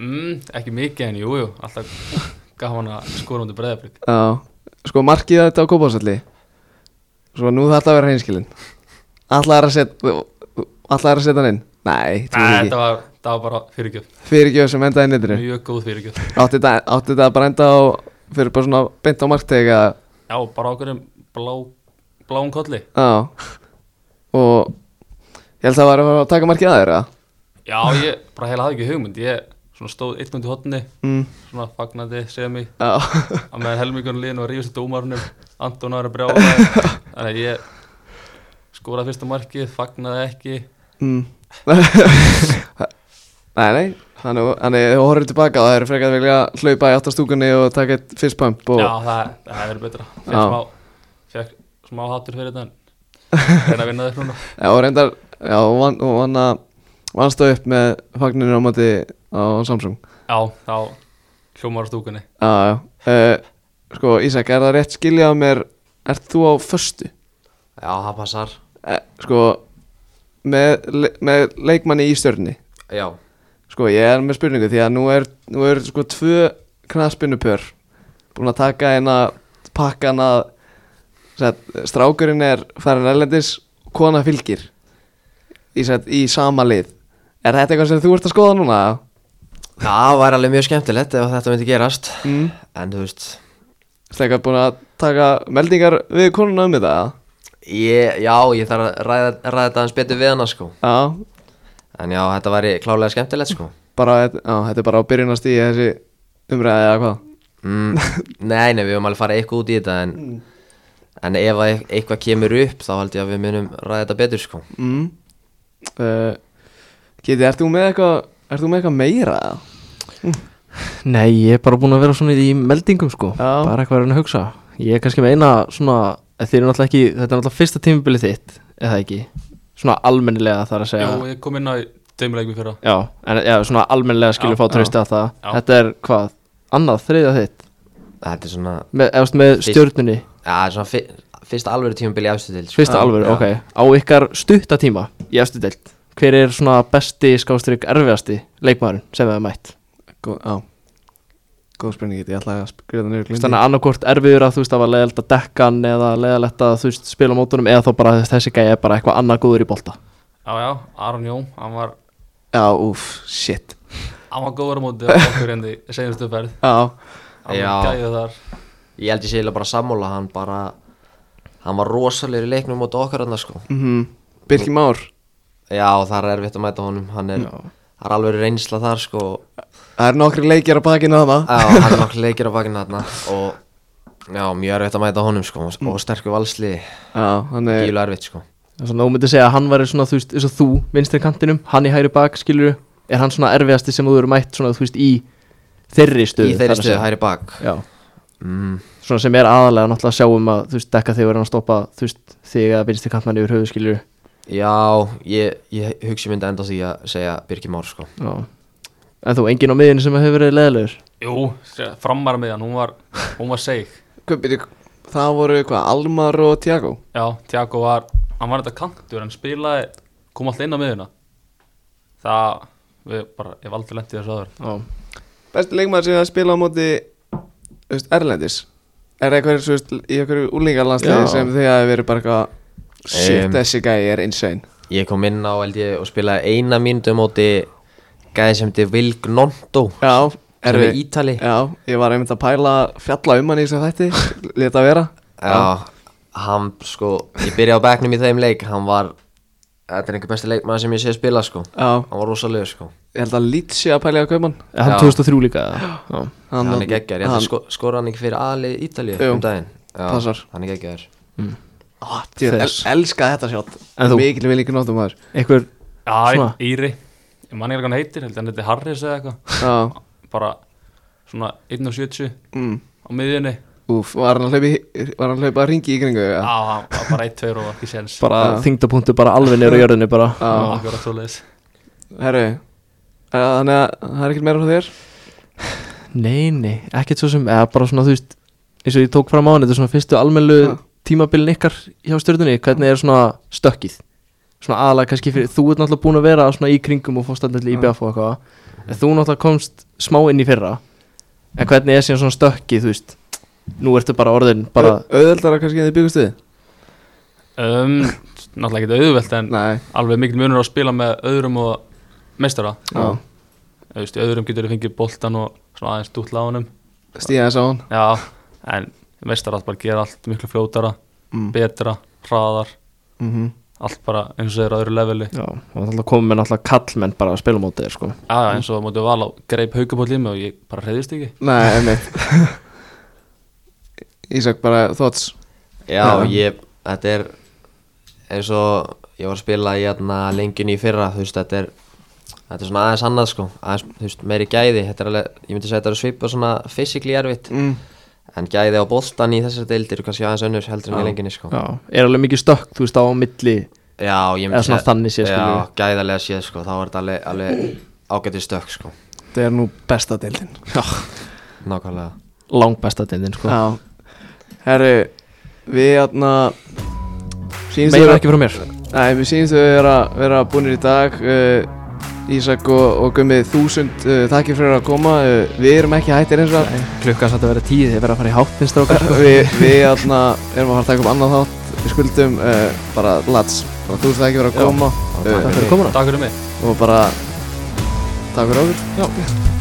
S4: mm, ekki mikið en jú, jú, alltaf gaman að skora undir breiðablík
S1: Já, sko markið þetta á kópásalli Svo nú það ætla að vera hreinskilin Alla er að setja Alla er að setja hann inn Nei, þú
S4: Nei,
S1: ekki
S4: þetta var, þetta var bara fyrirgjöf
S1: Fyrirgjöf sem endaði nýttinu
S4: mjög góð fyrirgjöf
S1: Átti þetta átti þetta að brenda á Fyrir bara svona beint á marktega
S4: já, bara okkur um blá, bláum kolli
S1: Já Og Ég held að það var að fara að taka markið að þeirra
S4: já, ég bara heila hafði ekki hugmynd ég svona stóð eitt undir hotni
S1: mm.
S4: svona fagnandi, segja mig
S1: Já,
S4: að meðan helmingurinn liðin var rífast í dómarunum Anton var að brjála þannig að ég skoraði fyrsta markið, fagnaði ekki
S1: mm. Nei, nei Þannig þannig að þú horfir tilbaka og það eru frekar að vilja hlaupa í áttastúkunni og taka eitt fyrstpump og
S4: já, það, það hefur verið betra
S1: Já.
S4: fekk smá, fekk smá hattur fyrir þetta en reyna að vinna þér núna
S1: Já, og reyndar, já, og vann, og vann að vannstu upp með fagninu á móti á Samsung
S4: já, þá hljómar á stúkunni
S1: Já, já, uh, sko Ísak, er það rétt skiljað á mér, ert þú á föstu?
S3: já það passar
S1: Eh, sko, með, le- með leikmanni í stjörni
S3: já
S1: Sko, ég er með spurningu því að nú er, nú er sko tvö knaspinupör Búin að taka eina pakkan að sagt, strákurinn er farin erlendis, kona fylgir í, sagt, í sama lið Er þetta eitthvað sem þú ert að skoða núna?
S3: það var alveg mjög skemmtilegt ef þetta myndi gerast
S1: Mm.
S3: en þú veist
S1: Stekka búin að taka meldingar við konuna um þetta eða?
S3: Ég, já, ég þarf að ræða, ræða þetta hans betur við hana sko
S1: Já,
S3: En já, þetta væri klálega skemmtilegt sko
S1: bara, þetta- já, þetta er bara á byrjunast í þessi umræði eða hvað
S3: mm, Nei, nei, við höfum alveg farið eitthvað út í þetta En, en ef að eit- eitthvað kemur upp þá held ég að við munum ræða þetta betur sko
S1: mm. uh, Geti, ert þú með eitthvað Ert þú með eitthvað meira? eða?
S2: Nei, ég er bara búin að vera svona í meldingum sko
S1: Já.
S2: Bara eitthvað að reyna að hugsa Ég er kannski með eina svona Þetta er náttúrulega ekki, þetta er náttúrulega fyrsta tímabilið þitt Eða ekki Svona almennilega þar að segja
S4: Jú, ég kom inn á tveimurleikum fyrra
S2: Já, en já, svona almennilega skilur
S4: Já,
S2: fá trösti að það
S4: Já.
S2: Þetta er hvað, annað, þriðja þitt
S3: Þetta er svona,
S2: Með, eftir með
S3: Fyrst.
S2: stjörnunni
S3: já, þetta er svona fi- fyrsta alvöru tímabili afstöðil sko.
S2: Fyrsta alvöru, ok Á ykkar stutta tíma í eftir deilt Hver er svona besti, skástrík, erfiðasti leikmaðurinn sem við mætt?
S1: Góð, á Góð spurning, Kiti, ég ætla að skrifa það niður gleymdi
S2: Þannig að annarkvort erfiður að þú veist að var leiðilegt að dekka hann eða leiðilegt að þú veist spila á mótunum eða þá bara þú veist, þessi gæi er bara eitthvað annað góður í bolta
S4: Já, já, Aron Jón, hann var,
S1: því. Já, úf, shit
S4: hann var góður á móti okkur endi senustu ferð
S1: Já,
S4: Hann
S3: Já.
S4: var gæðið þar
S3: Ég held ég sé eiginlega bara sammála hann bara Hann var rosalegur í leiknum móti okkar hann sko
S1: mhm Birki Már
S3: Já, það er erfitt að mæta honum Hann er, það er alveg reynsla þar sko
S1: Það eru nokkri leikjar á bakinu þarna
S3: Já, hann er nokkuð leikir á bakinn þarna Og já, mjög erfitt að mæta honum sko Og sterkur valsli,
S1: Já, hann er
S3: gílu erfitt sko
S2: Þannig að þú myndir segja að hann væri svona þú veist eins og þú vinstri kantinum, hann í hægri bak skilur er hann svona erfiðasti sem þú eru mætt svona þú veist í þeirri stöðu
S3: Í þeirri
S2: þar að
S3: stöðu,
S2: segja.
S3: hæri bak
S2: Já,
S3: mm.
S2: svona sem er aðalega náttúrulega að sjá um að þú veist dekka þegar hann stoppa þú veist þegar vinstri kantmann yfir höfu skilur
S3: Já, ég, ég hugsi myndi enda á því að segja Birgir Már sko
S2: Já En þú engin á miðinu sem hefur verið leiðilegur
S4: Jú, framar með hann, hún var, hún var seig
S1: Hvað byrju, það voru hvað, Almar og Tiago
S4: Já, Tiago var, hann var þetta kantur en spilaði, kom alltaf inn á miðuna Það, við bara, ég valdi lendið þessu aður
S2: Já
S1: Besti leikmaður sem að spila á móti þú veist, Erlendis Er eitthvað þú veist, í einhverju úlingarlandsliði
S2: Já.
S1: sem þið hafi verið bara eitthvað Shit,
S3: Em.
S1: þessi gæi er insane
S3: Ég kom inn á held ég og spilaði eina mínútu á móti Gæði sem þetta Vilg Nondo
S1: Já,
S3: Sem
S1: við-
S3: er Ítali
S1: Já, ég var einmitt að pæla að fjalla um hann í þessu þætti Leta vera
S3: Já, hann sko, ég byrjaði á bekknum í þeim leik, hann var, þetta er einhver besti leikmaður sem ég sé að spila sko,
S1: Já,
S3: hann var rosalegur sko,
S1: ég held að lít sé að pæla í að kaupa hann
S2: Er Hann
S3: Já.
S2: 2003 líka eða? Já
S3: hann, er
S1: hann-
S3: geggjær, ég ætla að sko, skora hann ekki fyrir aðli Ítalíu
S1: Jú,
S3: um daginn, já,
S1: passar.
S3: hann er geggjær,
S1: Ó, djú, el,
S2: Þess.
S1: Elska þetta sjátt
S2: En þú-
S1: Mikil vil ekki nóttum maður
S2: Einhver
S4: Já,
S2: Svona?
S4: Íri, ég man ekki hvað hann heitir, held að hann heiti Harris eða eitthvað
S1: Já,
S4: Bara svona 1.70
S1: mm,
S4: á miðjunni
S1: úf, var hann að hlaupa í- var hann að hlaupa að ringi í kringu
S4: Já,
S1: Já,
S4: hann var bara 1-2 og var ekki séns
S2: bara
S1: Já.
S2: þingdapunktu bara alveg niður á jörðinu bara
S1: já.
S4: Akkurat svoleiðis
S1: herru eh, Þannig að það er ekkert meira frá þér
S2: Nei, nei, ekkert svo sem eða bara svona þú veist eins og ég tók fram á hann, þetta er svona fyrstu almenlu
S1: Já.
S2: tímabilin ykkar hjá stjórnunni hvernig er svona stökkið svona aðalega kannski fyrir, þú ert náttúrulega búin að vera svona í kringum og fórst allir í BF og eitthvað en þú náttúrulega komst smá inn í fyrra en hvernig er síðan svona stökkið þú veist, nú ertu bara orðin bara,
S1: Au- Auðveldara kannski en þið byggust við
S4: um, Náttúrulega ekki auðvelt en
S1: Nei,
S4: alveg mikil munur á að spila með öðrum og meistara
S1: já,
S4: Þú veist, í öðrum getur þið fengið boltan og svona aðeins dútla á honum
S1: stíða þess á hann
S4: Já, en meistara bara gera allt miklu fljótara,
S1: Mm.
S4: Mm. betra, hraðar
S1: Mhm.
S4: allt bara eins og þeir á öðru leveli
S2: já, og náttúrulega komum með náttúrulega kallmenn bara að spila á mótið þér sko
S4: Já, já, eins og mótið val á greip haugabóll í mig og ég bara reyðist ekki
S1: Nei, einmitt Ísak bara þóts
S3: já, ég, þetta er eins og ég var að spila í hérna lengjunni í fyrra, þú veist, þetta er, þetta er svona aðeins annað sko, aðeins, þú veist, meiri gæði, þetta er alveg, ég myndi segja þetta er svipa svona fysikli erfitt,
S1: mm.
S3: en gæði á boltan í þessari deildir kannski aðeins önnur heldur en í lengjunni sko.
S2: já, er alveg mikið stökk, þú veist, á milli
S3: Já, ég
S2: Eða svona þannig séð, skilur
S3: Já,
S2: við.
S3: gæðarlega séð sko, þá er þetta alveg, alveg ágætið stökk sko
S1: Það er nú besta deildin
S3: Nákvæmlega
S2: langbesta deildin sko
S1: Já, herru Við hérna sýnist
S2: meira
S1: vera-
S2: ekki frá mér
S1: Nei, mér sýnist við vera, vera búinir í dag uh, Ísak og, og Gummi þúsund uh, takkir fyrir að koma uh, Við erum ekki hættir eins og
S2: klukkan satt að vera tíð, þið verða að fara í háttinn strákar sko.
S1: Við, við hérna erum að fara að taka upp annað þátt Við skuldum uh, bara lats Bara þú veist ekki verið að koma
S2: takk
S1: uh,
S2: fyrir komuna
S4: Takk fyrir mig
S1: Og bara Takk fyrir okkur
S2: Já.